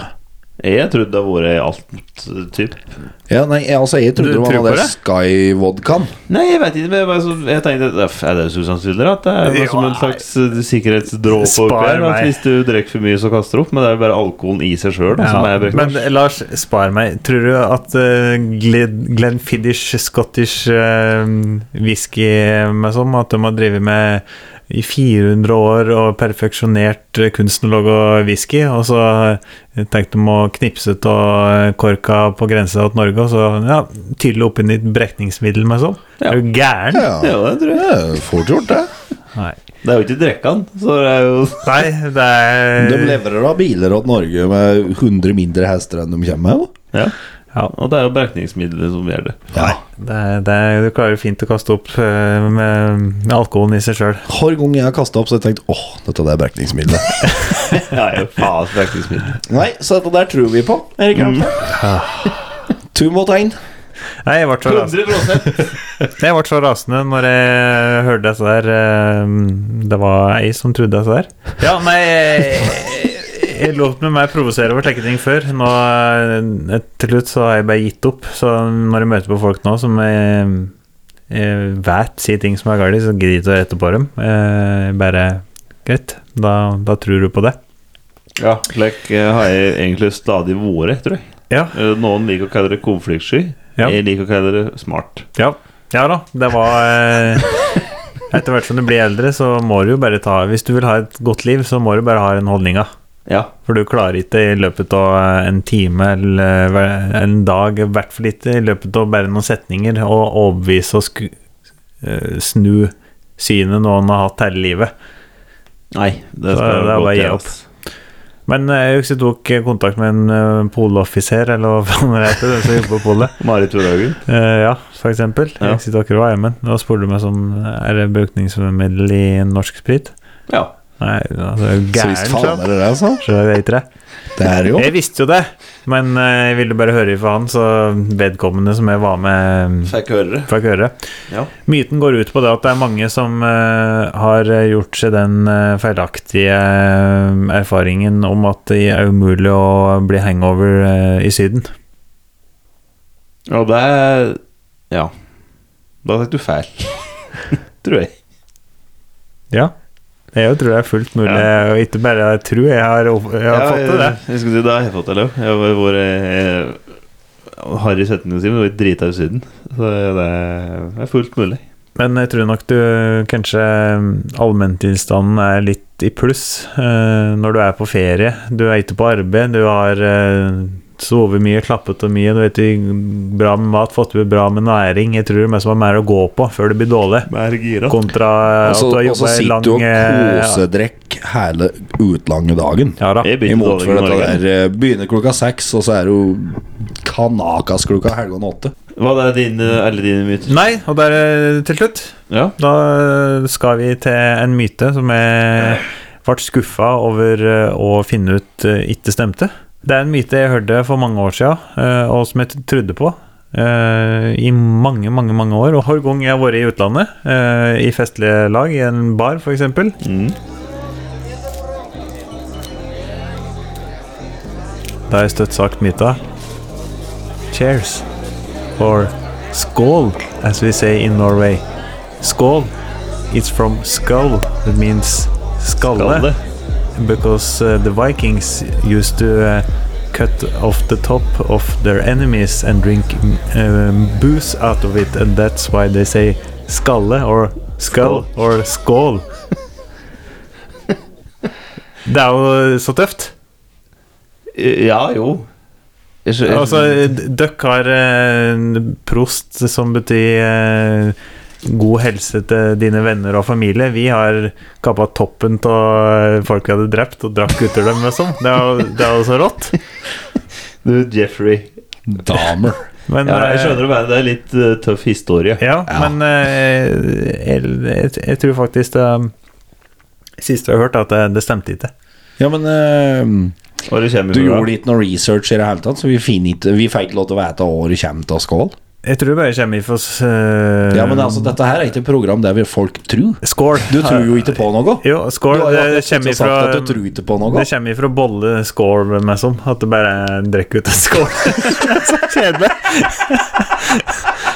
B: Jeg trodde det var i alt typ
D: Ja, nei, jeg- altså, jeg
C: Du
D: trodde det var
C: tror
D: noe
C: på
D: der
C: det?
D: Sky Vodkan.
B: Nei, jeg vet ikke. Men jeg, bare så, jeg tenkte "Øff, Er det susansilderat? Det er jo som en slags eh, sikkerhetsdråpe
C: Spar
B: oppi her. At
C: meg.
B: hvis du drikker for mye, så kaster du opp. Men det er jo bare alkoholen i seg sjøl som er
C: Ja,
B: brekt.
C: men Lars, spar meg. Tror du at uh, Glenfiddish Scottish eh, whisky med sånn, at de har drevet med i 400 år og perfeksjonert eh, kunsten å lage whisky, og så eh, tenkte de å knipse av eh, korka på grensa til Norge, og så ja, tydelig oppi nytt brekningsmiddel med sånn?
B: Ja.
C: Er du gæren?
D: Ja,
B: Ja, det tror jeg.
D: det er fort gjort, det.
C: Nei.
B: Det er jo ikke drikkan, så det er jo
C: Nei, det er
D: De leverer da biler til Norge med 100 mindre hester enn de kommer med. jo.
B: Ja.
C: ja.
B: Og det er jo brekningsmiddelet som gjør det.
D: Ja.
C: Det, er- det, er- du klarer fint å kaste opp eh, med, med alkoholen i seg sjøl.
D: Hver gang jeg har kasta opp, så har jeg tenkt åh, dette der er brekningsmiddelet.
B: Det er jo faen brekningsmiddel.
D: Nei, så dette der tror vi på. Erik
B: Mm.
D: Ramstad. To mot én.
C: Nei, jeg ble så rasende,
B: 100
C: jeg ble så rasende når jeg hørte dette der. eh, Det var ei som trodde dette der. Ja, nei Jeg, jeg lot meg mer provosere over slike ting før. Nå, eh, til slutt så har jeg bare gitt opp. Så når jeg møter på folk nå som jeg, jeg vet sier ting som er galt, så gidder jeg ikke å rette på dem. Eh, Bare greit, da, da tror du på det.
B: Ja, slik eh, har jeg egentlig stadig vært, tror jeg.
C: Ja.
B: Eh, Noen liker å kalle det konfliktsky.
C: Ja.
B: Jeg liker å kalle det smart.
C: Ja, ja da, det var eh, Etter hvert som du blir eldre, så må du jo bare ta Hvis du vil ha et godt liv, så må du bare ha den holdninga.
B: Ja.
C: For du klarer ikke i løpet av eh, en time eller hver- en dag, i hvert fall ikke i løpet av bare noen setninger, å overbevise og sku, eh, snu synet noen har hatt hele livet.
B: Nei, det
C: Så
B: skal
C: det er
B: godt
C: bare å gi
B: gjøres.
C: Men eh, jeg husker jeg tok kontakt med en eh, poloffiser, eller hva faen det heter, den som jobber på polet.
B: Marit Torhagen.
C: Eh, ja, for eksempel.
B: Ja.
C: Jeg sitter akkurat ved hjemmen. Da spurte du meg som er det brukningsmiddel i norsk sprit.
B: Ja.
C: Nei, altså, er du
D: Så
C: gæren,
D: visst faen
C: sjøl.
D: er det det, altså.
C: Så jeg vet ikke det.
D: Det er jo
C: Jeg visste jo det, men eh, jeg ville bare høre ifra han, så vedkommende som jeg var med, eh,
B: Fikk høre det.
C: fikk høre.
B: Ja.
C: Myten går ut på det at det er mange som eh, har gjort seg den eh, feilaktige eh, erfaringen om at det er umulig å bli hangover eh, i Syden.
B: Og det er Ja. Da fikk du feil. tror jeg.
C: Ja. Jeg tror det er fullt mulig,
B: Ja.
C: og ikke bare jeg tror, jeg har, jeg har fått til det.
B: Jeg, jeg skulle si det har jeg fått til òg. Jeg har vært eh, harry i settene sine, men jeg var drita i Syden. Så det er fullt mulig.
C: Men jeg tror nok du kanskje allmenntilstanden er litt i pluss eh, når du er på ferie. Du er ikke på arbeid, du har eh, sovet mye, klappet og mye, du vet ikke bra med mat, fått i deg bra med næring. Jeg tror det er mest var mer å gå på før du blir dårlig,
B: Mer gira.
C: kontra eh,
D: Og så
C: at du har
D: og så
C: jobba i
D: Altså, sitter
C: lang
D: du og
C: eh,
D: kosedrekk hele utlange dagen.
C: Ja da.
B: Jeg
D: I
B: begynte dårlig
D: motfor
B: i
D: dette
B: Norge.
D: der eh, begynner klokka seks, og så er det jo kanakas klokka halv åtte.
B: Hva er din, eh, alle dine myter?
C: Nei, og der eh, til slutt
B: Ja.
C: Da skal vi til en myte som jeg ble skuffa over eh, å finne ut eh, ikke stemte. Det er en myte jeg hørte for mange år siden, eh, og som jeg t- trodde på. eh, I mange, mange mange år. Og hver gang jeg har vært i utlandet, eh, i festlige lag, i en bar f.eks.,
B: Mm.
C: da har jeg støtt sagt myta Cheers. Or skål, as we say in Norway. Skål. It's from skull, that means
B: Skal
C: skalle.
B: det?
C: because uh, the Vikings used to uh, cut off the top of their enemies and drink um, booze out of it, and that's why they say skalle or skull or skål. Det er jo uh, så tøft.
B: Ja, jo. Jeg skjø- jeg
C: Altså, d- Døkk har eh, en prost som betyr eh, god helse til dine venner og familie. Vi har kappa toppen av folk vi hadde drept, og drakk gutter dem med sånn. Det er jo- det er jo så rått.
B: Du, Jeffrey.
D: Damer.
C: Men,
B: Ja, jeg
C: eh,
B: skjønner det, men det er litt eh, tøff historie.
C: Ja, men eh, jeg, jeg, jeg tror faktisk det um, siste jeg har hørt, er at det, det stemte ikke.
D: Ja, men eh,
B: Og det kommer
D: du
B: fra-
D: gjorde ikke noe research i det hele tatt, så vi, finner ikke- vi får ikke lov til å vite hva det kommer til skål.
C: Jeg tror det bare kommer ifra uh,
D: Ja, men altså, dette her er ikke et program der vil folk tro.
C: Skål.
D: Du tror jo ikke på noe.
C: Jo, skål.
D: Du har jo
C: Det
D: akkurat
C: kommer
D: sagt
C: ifra
D: at du tror ikke på noe.
C: Det kommer ifra bolle skål, meg som. At du bare drikker ut en skål. Så kjedelig.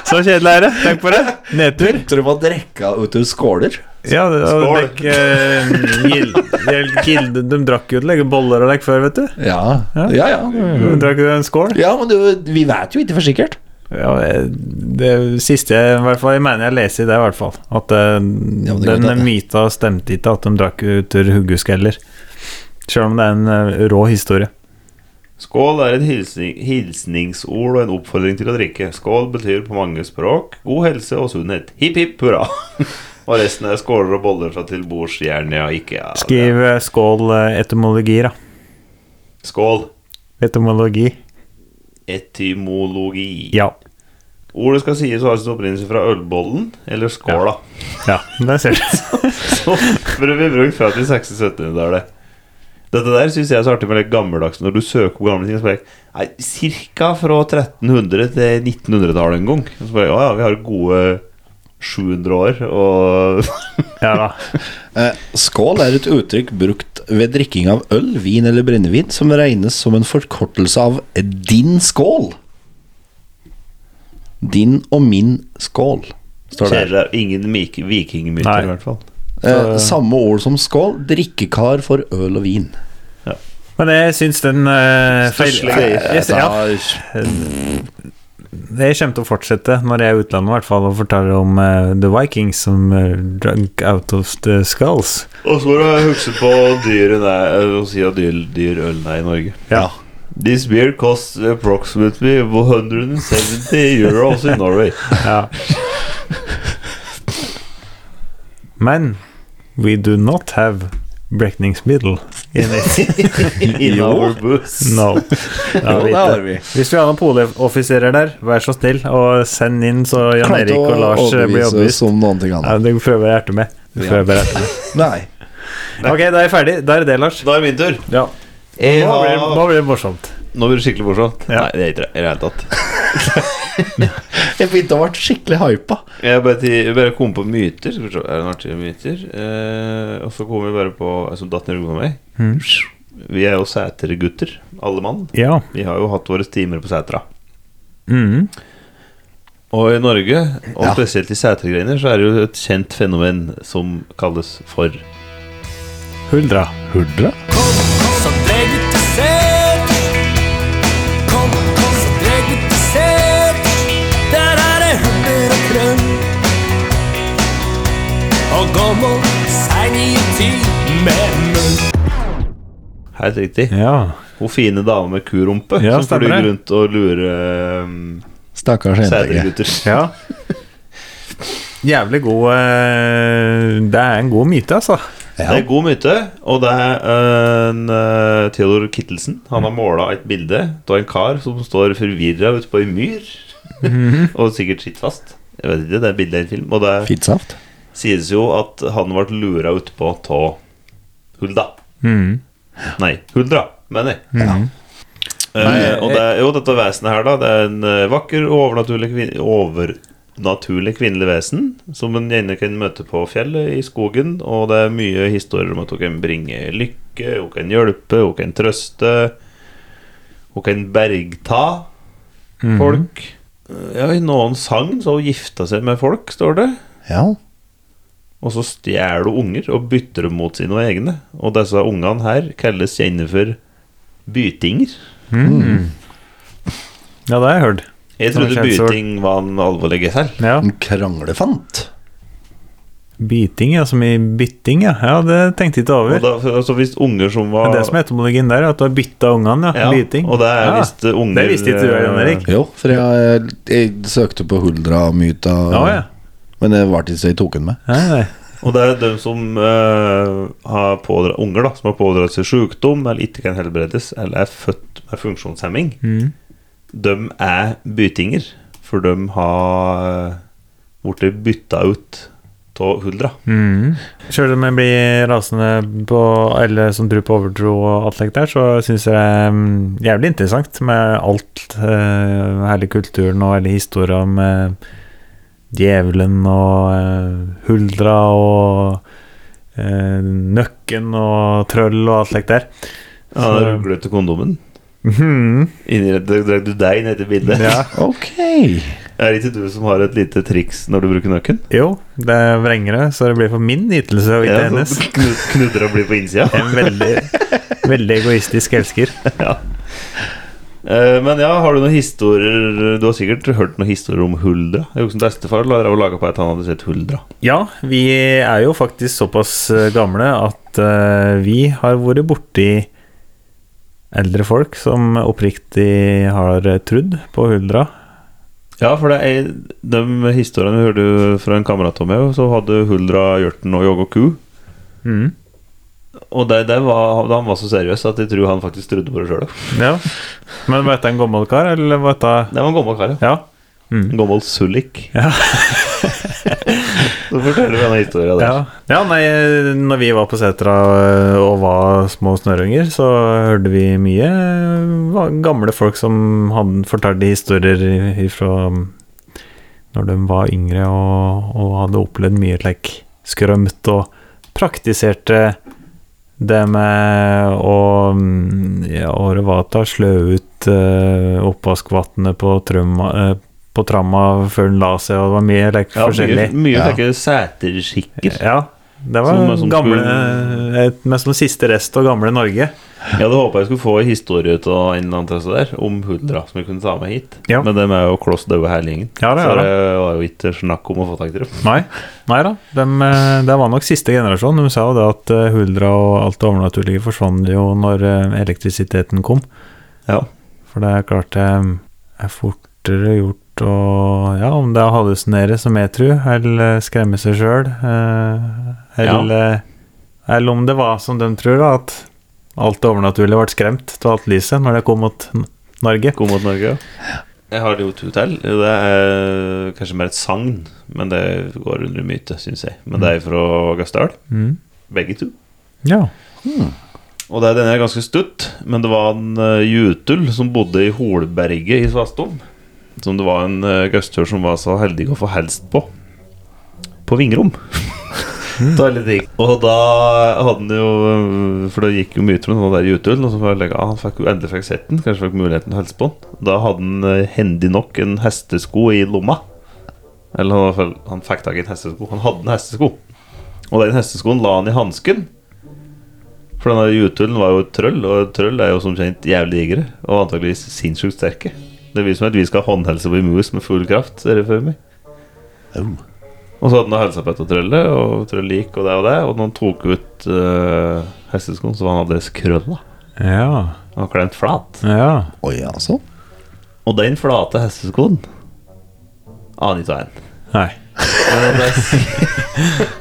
C: Så kjedelig er det. Tenk på det. Nedtur.
D: Tror du på å drikke ut av skåler?
C: Ja, det, og
D: Skål.
C: dekk, eh, gild, gild, gild, de drakk jo til legge boller og lekk før, vet du.
D: Ja.
C: Ja.
D: Ja, ja.
C: De drakk jo en skål.
D: ja men du, vi vet jo ikke for sikkert.
C: Ja, eh, det siste jeg, i hvert fall, jeg mener jeg leser i det, i hvert fall. At eh,
D: Ja, men det kan
C: den
D: hende.
C: myta stemte ikke, at de drakk ut av huggeskeller. Selv om det er en eh, rå historie.
B: Skål er et hilsning, hilsningsord og en oppfordring til å drikke. Skål betyr på mange språk god helse og sunnhet. Hipp hipp hurra. og resten er skåler og boller fra tilbordsjernet og ikke ja,
C: Skriv eh, skål eh, etymologi, da.
B: Skål.
C: Etymologi.
B: Etymologi.
C: Ja.
B: Ordet skal sies å ha sin opprinnelse fra ølbollen, eller skåla,
C: ja. Der ser du.
B: som ble brukt fram til 1670-tallet. Dette der syns jeg er så artig med det gammeldagse når du søker på gamle ting. Så bare, nei, cirka fra 1300 til 1900-tallet en gang. Og Så bare, ja, ja, vi har gode 700 år, og
C: Ja da.
D: Eh, Skål er et uttrykk brukt ved drikking av øl, vin eller brennevin som regnes som en forkortelse av din skål. Din og min skål, står det. her.
B: Kjære, det er ingen mik-
C: Nei.
B: vikingmyter, i hvert fall.
C: altså.
D: Eh, samme ord som skål, drikkekar for øl og vin.
C: Men jeg syns den eh, feil...
B: Stusslig.
C: Jeg, jeg, ja,
D: Da-
C: jeg kommer til å fortsette, når jeg er i utlandet i hvert fall, og forteller om eh, The Vikings som eh, drank out of the skulls.
B: Og så må du huske på dyret der, å si at dyr, dyr øl er i Norge.
D: ja.
B: This beer costs approximately 170 euros in Norway.
C: Ja. Men we do not have brekningsmiddel.
B: In our booth.
C: No.
D: Jo, det har vi.
C: Hvis vi har noen poloffiserer der, vær så snill og send inn så Jan
D: Klarte
C: Erik
D: å
C: og Lars eh, blir
D: overbevise oss
C: overbevist.
D: om noen ting annet.
C: Ja, det prøver jeg hjertet med. Det prøver jeg bare hjertet med.
D: Nei.
C: Ok, da er jeg ferdig. Da er det det, Lars.
B: Da er det min tur.
C: Ja.
B: Jeg
C: Nå blir det,
B: har-
C: nå blir det morsomt.
B: Nå blir det skikkelig morsomt.
C: Ja.
B: Nei, det er ikke det i det hele tatt.
D: Jeg begynte å bli skikkelig hypa.
B: Jeg bare, ti- jeg bare kom på myter. Skal vi se, er det noen artige myter? Eh, og så kom vi bare på en som datt ned i hodet på meg.
C: Mm.
B: Vi er jo Sæter-gutter, alle mann.
C: Ja.
B: Vi har jo hatt våre timer på Sætra.
C: Mhm.
B: Og i Norge, og
D: Ja.
B: spesielt i Sætergreiner, så er det jo et kjent fenomen som kalles for
C: Huldra.
D: Huldra?
E: Så dregg ut til set. Kom, kom, så dregg ut til set. Der er det hunder og krøll. Og gammel seng i tid med munn.
B: Helt riktig.
C: Ja.
B: Hun fine dame med kurumpe
C: Ja,
B: som
C: stemmer
B: flyr
C: det.
B: rundt og lurer um,
D: Stakkars jente.
B: sætergutter.
C: ja. Jævlig god eh, Det er en god myte, altså.
B: Det er god myte, og det er eh, en eh, Theodor Kittelsen. Han har måla et bilde av en kar som står forvirra ute på ei myr. og sikkert sitter fast. Jeg vet ikke, det er bildet i en film. Og det
D: Fint saft.
B: sies jo at han ble lura utpå av Hulda.
D: Mm.
B: Nei, Huldra, mener jeg. Eh,
C: Nei,
B: og det er jo dette vesenet her, da. Det er en eh, vakker og overnaturlig, kvin overnaturlig kvinnelig vesen som en gjerne kan møte på fjellet, i skogen. Og det er mye historier om at hun kan bringe lykke, hun kan hjelpe, hun kan trøste. Hun kan bergta folk. Ja, I noen sagn så har hun gifta seg med folk, står det.
D: Ja.
B: Og så stjeler hun unger og bytter dem mot sine egne. Og disse ungene her kalles gjerne for bytinger.
C: Ja, det har jeg hørt.
B: Jeg
C: Som er
B: trodde
C: kjensord.
B: byting var en alvorlig gissel.
C: Ja.
D: En kranglefant.
C: Biting, ja. Som i bytting, ja. ja det tenkte jeg ikke
B: Og
C: over.
B: da, altså hvis unger som var
C: Men det som er etymologien der, er at du har bytta ungene. Ja.
B: Ja,
C: Biting.
B: og det er
C: ja.
B: visst, eh, unger-
C: Det visste ikke du, Jan Erik.
D: Jo, for jeg, jeg søkte på Huldra-myta,
C: Å ja.
D: men det var ikke så jeg tok den med.
C: Nei, nei.
B: Og det er de som eh, har pådra, unger da, som har pådratt seg sykdom eller ikke kan helbredes, eller er født med funksjonshemming, de er bytinger. For de har blitt bytta ut av huldra.
C: Mm. Selv om jeg blir rasende på alle som tror på overtro og alt slikt der, så syns jeg det er mm, jævlig interessant med alt. eh, hele kulturen og hele historia om eh, djevelen og eh, huldra og eh, nøkken og trøll og alt slikt der.
B: Ja,
C: Så-
B: Rugler du til kondomen?
C: Mhm.
B: Drakk du deg ned til bildet?
C: ja.
D: Ok.
B: Er det ikke du som har et lite triks når du bruker nøkken?
C: Jo, det vrenger det, så det blir for min ytelse og ikke
B: Ja,
C: hennes.
B: så knu- knudrer og blir på innsida.
C: En veldig, veldig egoistisk elsker.
B: Eh, Men ja, har du noen historier Du har sikkert hørt noen historier om huldra? Jeg husker bestefar la laga på at han hadde sett huldra.
C: Ja, vi er jo faktisk såpass eh, gamle at eh, vi har vært borti eldre folk som oppriktig har eh, trudd på huldra.
B: Ja, for det er, de historiene vi hørte fra en kamerat av meg, så hadde huldra hjorten og jogga ku.
C: Mm.
B: Og det, det var, han var så seriøs at jeg tror han faktisk trodde på det sjøl.
C: Ja. Men var dette en gammel kar, eller var dette
B: Det var en gammel kar, ja.
C: Ja.
B: En gammel sullik.
C: Ja.
B: så forteller vi denne historien der.
C: Ja. ja, nei, når vi var på setra eh, og var små snørrunger, så hørte vi mye eh, va- gamle folk som hadde fortalte historier ifra mm, når de var yngre og, og hadde opplevd mye like, skrømt og praktiserte det med å mm, ja, året var ta slø ut eh, oppvaskvannet på, trømma- eh, på tramma før den la seg, og det var mye like,
B: Ja, mye
C: forskjellig.
B: mye
D: Ja.
B: slike sæterskikker.
C: Ja, det var
B: Som- som
C: gamle
B: skulle-
C: et- Men som siste rest av gamle Norge.
B: Jeg hadde håpa jeg skulle få en historie ut av en eller annen test der om huldra som jeg kunne ta med hit.
C: Ja.
B: Men dem er jo kloss daue hele gjengen.
C: Ja, det er
B: så
C: det.
B: det var jo ikke snakk om å få tak i dem.
C: Nei, nei da. Dem, eh, det var nok siste generasjon. De sa jo det at eh, huldra og alt det overnaturlige forsvant jo når eh, elektrisiteten kom.
B: Ja.
C: For det er klart det er fortere gjort å Ja, om det er å hallusinere, som jeg tror, eller skremme seg sjøl, eller eh, Eller om det var som de tror, da, at alt det overnaturlige ble skremt av alt lyset når det kom mot N- Norge.
B: God mot Norge, ja. Jeg har jo to til. Det er kanskje mer et sagn, men det går under myte, syns jeg. Men det er fra Gassdal,
C: Mm.
B: begge to.
C: Ja.
B: Og det, denne er ganske stutt, men det var en eh, jutul som bodde i Holberget i Svastom. Som det var en uh, gaustør som var så heldig å få helst på. På vingrom. Ta litt ting. og da hadde han jo eh, For det gikk jo mye til den der jutulen. Og så var det like, ah, han fikk jo endelig fikk sett den, kanskje fikk muligheten til å hilse på den. Da hadde han eh, hendig nok en hestesko i lomma. Eller han, i hvert fall- han fikk tak i en hestesko. Han hadde en hestesko. Og den hesteskoen la han i hansken. For denne jutullen var jo et trøll, og et trøll er jo som kjent jævlig digre. Og antakeligvis sinnssykt sterke. Det viser meg at vi skal håndhelse på en mus med full kraft. Ser det for meg. Og så hadde han helsa på etter trøllet, og trøllet gikk, og det og det. Og når han tok ut eh, hesteskoen, så var han aldeles krølla.
C: Ja.
B: Han var klemt flat.
C: Ja.
D: Oi, altså.
B: Og den flate hesteskoen aner ikke hva er.
C: Nei.
B: Men det er sik-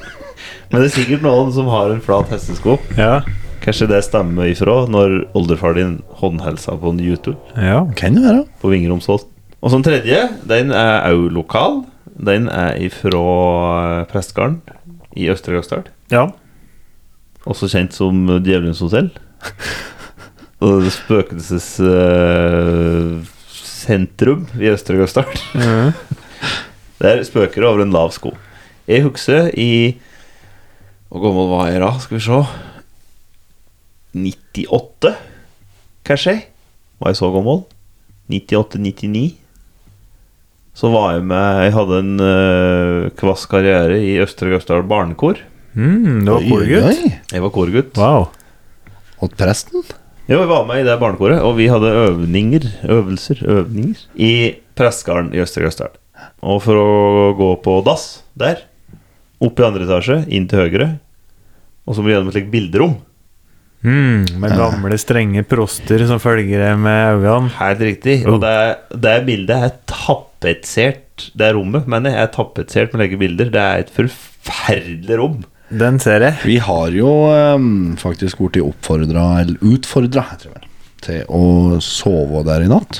B: Men det er sikkert noen som har en flat hestesko.
C: Ja.
B: Kanskje det stemmer ifra når oldefar din håndhelsa på en jutul.
C: Ja.
D: Kan det være.
B: på Vingeromsåsen. Og som tredje, den er òg lokal. Den er ifra eh, Prestgarden i Østre Gausdal.
C: ja.
B: Også kjent som Djevelens hotell. Og spøkelses eh, sentrum i Østre Gausdal. Der spøker det over en lav sko. Jeg husker i Hvor gammel var jeg da? Skal vi se 98, kanskje? Var jeg så gammel? 98-99. Så var jeg med Jeg hadde en eh, kvass karriere i Østre Gausdal barnekor.
C: Mm, det var
D: Oi,
C: korgutt.
D: oi.
B: Jeg var korgutt.
C: Wow.
D: Og presten?
B: Jo, jeg var med i det barnekoret, og vi hadde øvninger, øvelser, øvninger i Prestgarden i Østre Gausdal. Og for å gå på dass der, opp i andre etasje, inn til høyre, og så må vi gjennom et slikt bilderom.
C: Mm, med gamle, strenge proster som følger deg med øynene.
B: Helt riktig. Og det, det bildet er tapetsert, det rommet, mener jeg, er tapetsert med like bilder. Det er et forferdelig rom.
C: Den ser jeg.
D: Vi har jo ehm, faktisk blitt oppfordra, eller utfordra, heter det vel, til å sove der i natt.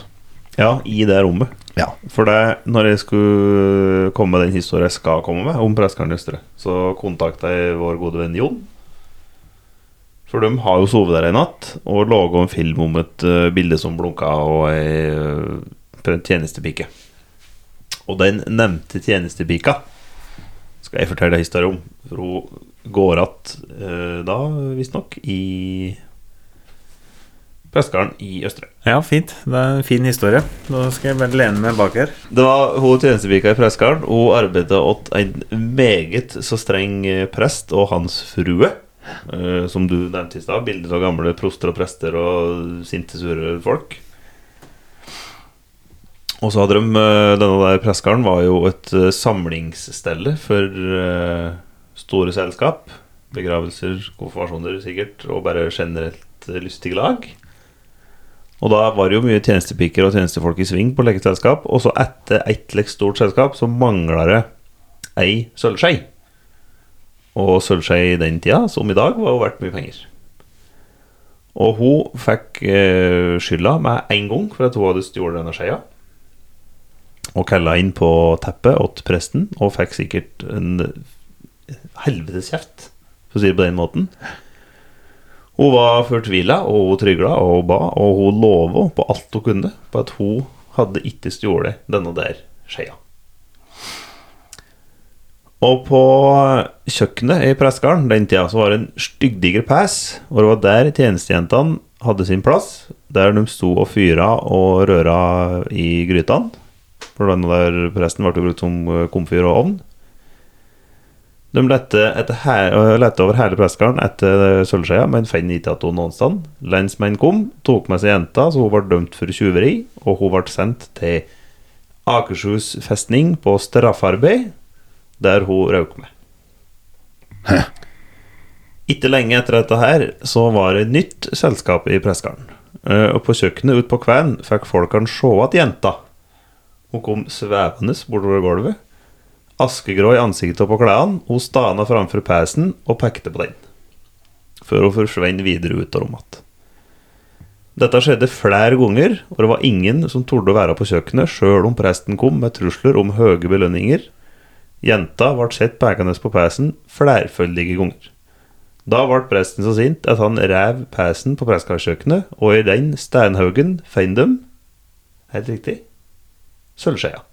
B: Ja, i det rommet.
D: Ja.
B: For det, når jeg skulle komme med den historien jeg skal komme med, om Preskeren Østre, så kontakta jeg vår gode venn Jon. For de har jo sovet der en natt og laga en film om et eh, bilde som blunka, og ei eh, tjenestepike. Og den nevnte tjenestepika skal jeg fortelle deg historien om. For hun går att eh, da, visstnok, i Preskeren i Østre.
C: Ja, fint. Det er en fin historie. Da skal jeg bare lene meg bak her.
B: Det var hun tjenestepika i Preskaren. Hun arbeidet åt en meget så streng eh, prest og hans frue. eh, som du nevnte i stad. Bilder av gamle proster og prester og sinte, sure folk. Og så hadde de eh, Denne der Preskaren var jo et eh, samlingsstelle for eh, store selskap. Begravelser, konfirmasjoner sikkert, og bare generelt eh, lystige lag. Og da var det jo mye tjenestepiker og tjenestefolk i sving på lekeselskap. Og så etter ett lek stort selskap så mangla det ei sølvskei. Og sølvskei i den tida, som i dag, var jo verdt mye penger. Og hun fikk eh, skylda med en gang for at hun hadde stjålet denne skeia. Og kalla inn på teppet åt presten, og fikk sikkert en helvetes kjeft, for å si det på den måten. Hun var fortvila, og hun trygla og hun ba, og hun lova på alt hun kunne på at hun hadde ikke stjålet denne der skjea. Og på kjøkkenet i pressegården den tida så var det en styggdiger pes, og det var der tjenestejentene hadde sin plass, der de sto og fyra og røra i grytene. For denne der presten ble jo brukt som eh, komfyr og ovn. De lette, etter he- øh, lette over hele pressegården etter sølvskeia, men fant ikke igjen noen sted. Lensmannen kom, tok med seg jenta, så hun ble dømt for tjuveri, og hun ble sendt til Akershus festning på straffarbeid, der hun røk med. Ikke lenge etter dette her så var det nytt selskap i pressegården. Eh, Og på kjøkkenet ute på kvelden fikk folkene se at jenta Hun kom svevende bortover gulvet askegrå i ansiktet og på klærne. Hun stana framfor pesen og pekte på den, før hun forsvant videre ut av rommet igjen. Dette skjedde flere ganger, og det var ingen som torde å være på kjøkkenet, sjøl om presten kom med trusler om høye belønninger. Jenta ble sett pekende på pesen flerfølgelige ganger. Da ble presten så sint at han rev pesen på prestekjøkkenet, og i den steinhaugen fant de, helt riktig, sølvskjea.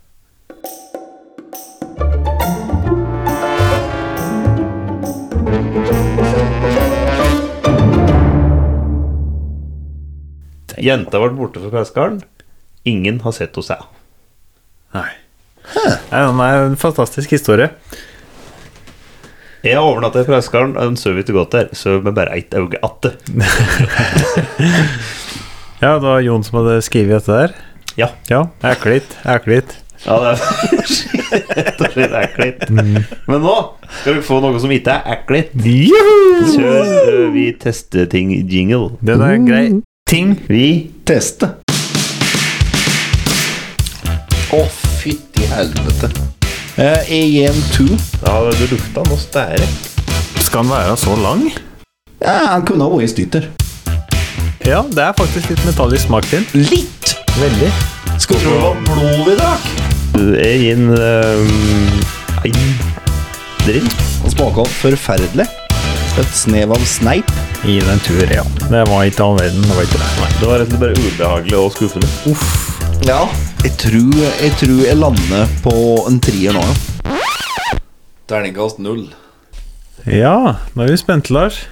B: Jenta ble borte fra pressegården. Ingen har sett henne siden.
C: Nei. Nei, den er en fantastisk historie.
B: Jeg har overnatta i pressegården, og de sover ikke godt der. Sover med bare ett øye atte.
C: Ja, det var Jon som hadde skrevet dette der.
B: Ja.
C: Ja, eklitt, eklitt.
B: ja, det er rett og slett ekkelt. Men nå skal dere få noe som ikke er ekkelt. Kjør eh, Vi tester ting-jingle.
C: Den er grei. Ting.
B: Vi
D: Teste. Å, fytti helvete. Eh, EM 2.
B: Ja, du lukta noe stære.
C: Skal den være så lang?
D: Ja, han kunne ha vært stytter.
C: Ja, det er faktisk litt metall i smak din.
D: Litt!
C: Veldig.
D: Skal tro det var blod vi drakk.
B: Jeg gir en
C: mm,
B: eh, en drink.
D: Han smaka forferdelig. Et snev av sneip.
C: Gi den en tur, ja. Det var ikke all verden. Det var ikke det.
B: Det var rett og slett bare ubehagelig og skuffende.
D: Ja. Jeg tror jeg, tror jeg lander på en trier nå, ja. Terningkast null.
C: Ja, nå er vi spente, Lars.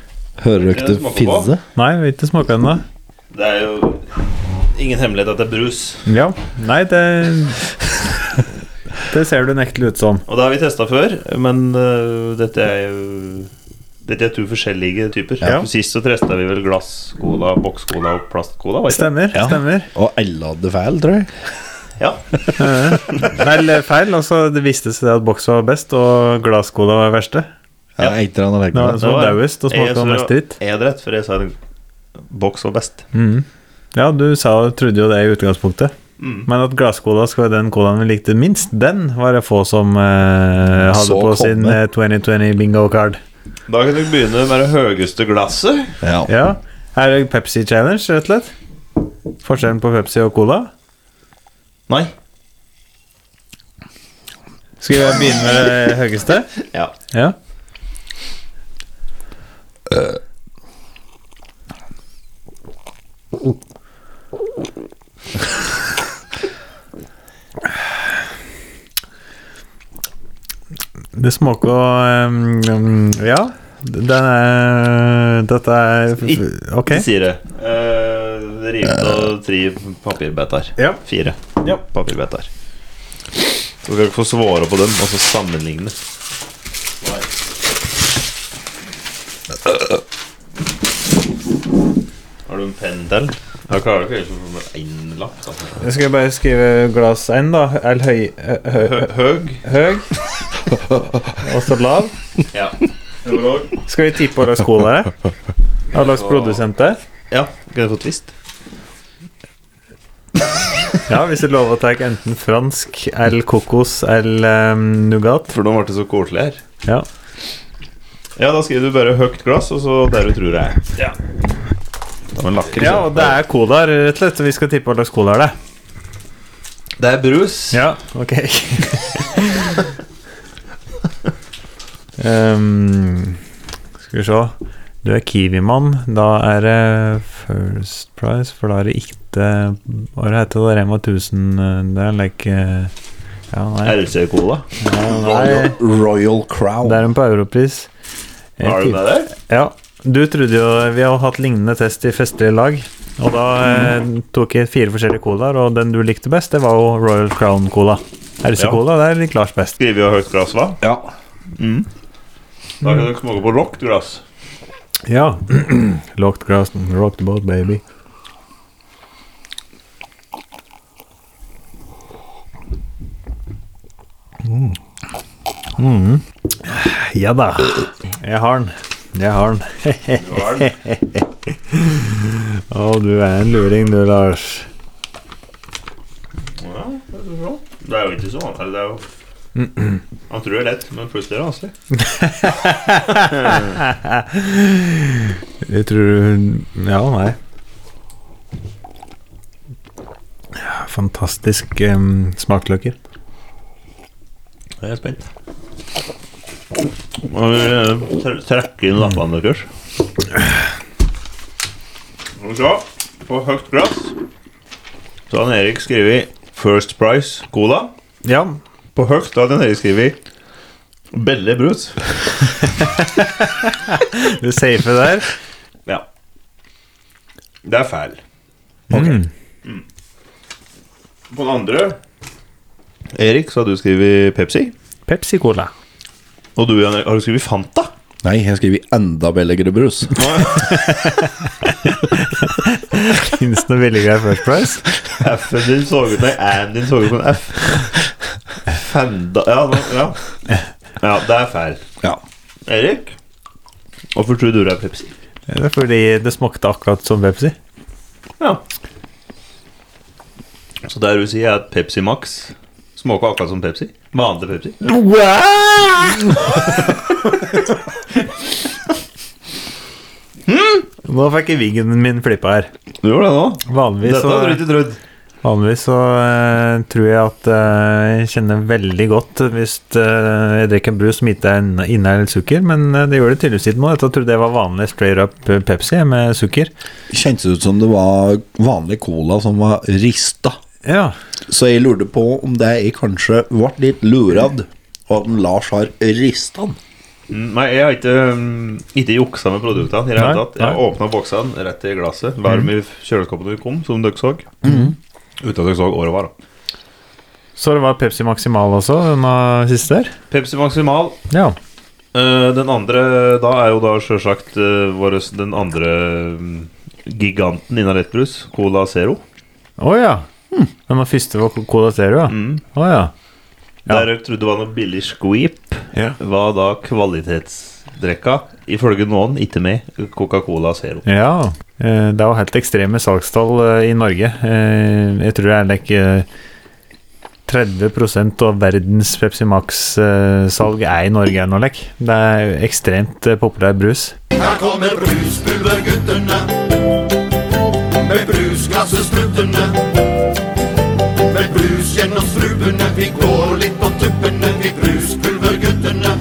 D: Hører dere
B: det
D: det
B: smake på?
D: fizze?
C: Nei, vi har ikke smakt ennå.
B: Det er jo ingen hemmelighet at det er brus.
C: Ja. Nei, det Det ser du nektelig ut som.
B: Og det har vi testa før, men øh, dette er jo Dette er to forskjellige typer.
C: Ja.
B: Sist så testa vi vel glass, cola, boks cola og plastcola. var det ikke?
C: Stemmer.
D: Ja.
C: stemmer
D: Og alle hadde feil, tror jeg.
B: Ja.
C: Vel, feil. Altså, det viste seg at boks var best, og glasskola var verste.
D: Ja, etter han hadde
C: Det var den som var
B: det var-
C: dauest og
B: Jeg
C: smakte
B: tror-
C: mest dritt.
B: Jeg hadde rett, for jeg sa det- boks var best.
C: Ja, du sa, trodde jo det i utgangspunktet.
D: Mm.
C: Men at glasscola skal være den colaen vi likte minst, den var det få som eh, hadde
D: Så
C: på sin
D: komme.
C: eh, 2020 bingo card.
B: Da kan du begynne med det høyeste glasset.
D: Ja.
C: Ja, Er det Pepsi Challenge, rett og slett? Forskjellen på Pepsi og cola?
B: Nei.
C: Skal vi begynne med det høyeste?
B: Ja.
C: Ja. Det smaker um, um, Ja, den er Dette er Ok.
B: Det sier det. Eh, det rimer av tre papirbiter.
C: Ja.
B: Fire
C: Ja.
B: papirbiter. Du kan ikke få svare på dem, og så sammenligne. Har du en penn til? Jeg klarer ikke helt å få med én lapp. Altså.
C: Jeg skal bare skrive glass én, da. Eller høy, hø- hø,
B: Hø- Høg?
C: høy. Og så lav.
B: Ja.
C: Skal vi tippe hva slags sko det er? Hva slags produsent det er?
B: ja. Kan jeg få twist?
C: Ja, hvis det er lov å ta enten fransk eller kokos eller um, nougat.
B: For nå ble det så koselig her.
C: Ja.
B: Ja, da skriver du bare 'høgt glass', og så der du tror jeg er. Ja. Det var en lakker,
C: ja,
B: så.
C: og det er cola, rett og slett. og Vi skal tippe hva slags cola det er.
B: det er brus.
C: Ja, ok. um, skal vi se. Du er Kiwi-mann. Da er det First Price, for da er det ikke Hva det heter det? Rema 1000 eh, Det er like eh, Ja, nei.
B: RC-cola.
C: nei.
D: Royal Crown.
C: Det er en på europris. Jeg
B: Har du
C: tipper-
B: det der?
C: Ja, du trodde jo Vi har hatt lignende test i festlige lag. Og da eh,
B: Mm.
C: tok jeg fire forskjellige colaer, og den du likte best, det var jo Royal Crown Cola. RC-cola, det er litt Lars best.
B: Skriver jo høyt glass, hva?
D: Ja.
B: Da
C: Mm.
B: kan dere smake på lågt glass.
C: Ja. Locked grass, rock the boat, baby. Mm. Ja da. Jeg har den. Jeg har den. Å, du er en luring du, Lars.
B: Det er jo ikke så vanlig. Det er jo Han tror det er lett, men plutselig er det vanskelig.
C: Jeg tror Ja, nei. Fantastisk um, smakløker.
B: Jeg er spent. Må vi eh, tre- trekke inn lappene deres? Skal vi se. På høyt glass så har han Erik skrevet First Price Cola.
C: Ja.
B: På høyt har han Erik skrevet Belle Brus.
C: Du safe der.
B: Ja. Det er feil.
C: Mm.
B: På den andre Erik, så har du skrevet Pepsi.
C: Pepsi Cola.
B: Og du, Jan Erik, har du skrevet Fanta?
D: Nei, jeg skriver enda billigere brus.
C: Finnes det noe billigere First Price?
B: F-en din så ut Nei, æ-en din så ut som en F. Fenda ja, nå, ja. ja, det er feil.
D: Ja.
B: Erik? Hvorfor tror du det er Pepsi?
C: Det er fordi det smakte akkurat som Pepsi.
B: Ja. Så det du sier, er at Pepsi Max smaker akkurat som Pepsi? Vanlig Pepsi?
C: Nå fikk jeg vingen min flippa her.
B: Du gjorde det nå.
C: Vanligvis
B: Dette
C: så,
B: hadde du ikke trodd.
C: vanligvis så eh, tror jeg at eh, jeg kjenner veldig godt hvis eh, jeg drikker en brus som ikke er inn- inneholder sukker, men eh, det gjør det tydeligvis ikke nå. Jeg trodde det var vanlig straight up eh, Pepsi med sukker.
D: Kjentes ut som det var vanlig cola som var rista.
C: Ja,
D: Så jeg lurte på om det jeg kanskje ble litt lurad, og at en Lars har rista den.
B: Mm, Nei, jeg har ikke, mm, ikke juksa med produktene. i det hele
C: Nei,
B: tatt. Jeg
C: nei. Mm.
B: åpna boksene rett i glasset. Varm i kjøleskapet når vi kom, som dere så. Uten at dere så året var. da.
C: Så det var Pepsi Maximal også, den eh, siste der?
B: Pepsi Maximal.
C: Ja.
B: Eh, den andre da er jo da sjølsagt uh, vår Den andre mm, giganten innen lettbrus, Cola Zero.
C: Å ja. Den var første var Cola Zero, ja. Å ja. Ja.
B: Der dere trodde var noe billig squeep,
C: Ja.
B: var da kvalitetsdrekka, ifølge noen, ikke med, Coca-Cola Zero.
C: Ja, eh, det er jo helt ekstreme salgstall eh, i Norge. Eh, Jeg tror det er like eh, 30 av verdens Pepsi Max-salg er i Norge ennå, like. Det er ekstremt eh, populær brus.
G: Her kommer brusbueguttene med brusglasset struttende. Med brus gjennom strupene, vi går litt på tur. tuppene, vi bruspulverguttene.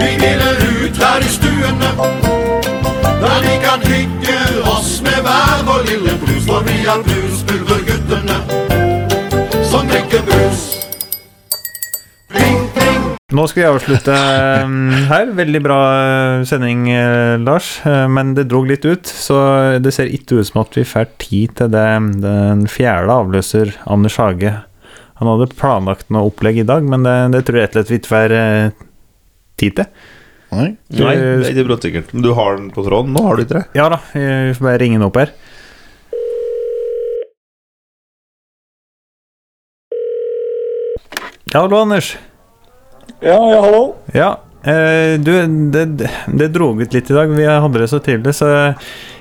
G: Vi deler ut her i stuene, der vi kan hygge oss med hver vår lille brus. For vi er bruspulverguttene som drikker brus. Pling, pling.
C: Nå skal vi avslutte eh, her. Veldig bra eh, sending, eh, Lars. Eh, Men det drog litt ut, så det ser ikke ut som at vi får tid til det. Den fjerde avløser, Anders Hage. Han hadde planlagt noe opplegg i dag, men det, det tror jeg rett og slett vi ikke får eh, tid til.
D: Nei.
B: Nei, det er ikke bråsikkert. Men du har den på tråden nå, har du ikke det?
C: Ja da, eh, vi får bare ringe den opp her. Ja, hallo, Anders.
H: Ja, ja, hallo.
C: Ja, eh, du, det, det dro ut litt i dag. Vi hadde det så trivelig, så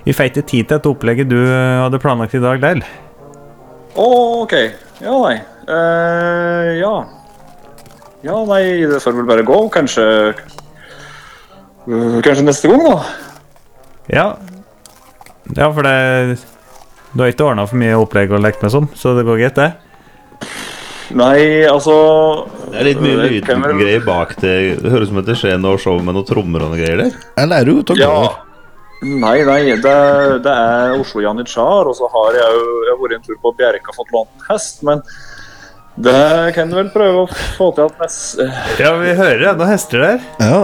C: vi fikk ikke tid til dette opplegget du hadde planlagt i dag, Leil.
H: Å, ok. Ja, nei. Eh, ja. Ja, nei, det får vel bare gå. Kanskje Eh, Kanskje neste gang, da.
C: Ja. ja, for det Du har ikke ordna for mye opplegg å leke med sånn, så det går greit, det.
H: Nei, altså
B: Det er litt mye
H: det kan vel-
B: lydgreier bak det. Det høres ut som at det skjer noe show med noen trommer og noe greier der.
D: Jeg lærer jo ut og
H: Ja. Ah. Nei, nei, det, det er Oslo Janitsjar, og så har jeg jo jeg har vært en tur på Bjerka og fått lånt en hest, men det kan du vel prøve å få til at eh, nest...
C: Ja, vi hører det. Noen hester der.
D: Ja.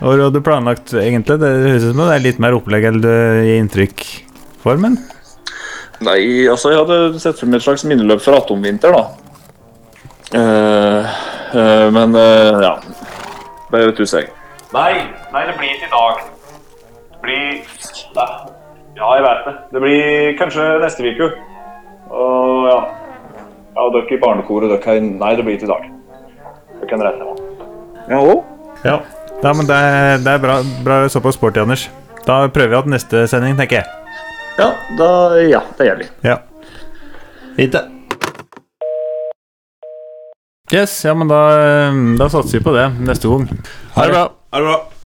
C: Og du hadde planlagt, egentlig. Det høres ut som det er litt mer opplegg enn du gir inntrykk for, men
H: Nei, altså jeg hadde sett for meg et slags minneløp for atomvinter, da. Eh, eh, men eh, ja. Det vet du selv.
I: Nei, nei, det blir ikke i dag. Det blir Nei. Ja, jeg vet det. Det blir kanskje neste uke. Og ja. Ja, og dere i barnekoret, dere kan Nei, det blir ikke i dag. Dere kan reise hjem.
H: Ja, og?
C: Ja. Nei, men det, er- det er bra, bra såpass sporty, Anders. Da prøver vi igjen neste sending, tenker jeg.
H: Ja, da, Eh, ja, det gjør vi.
C: Ja.
B: Fint, det.
C: eh, Yes, ja, men da, da satser vi på det neste gang. Ha det bra.
B: Ha det bra.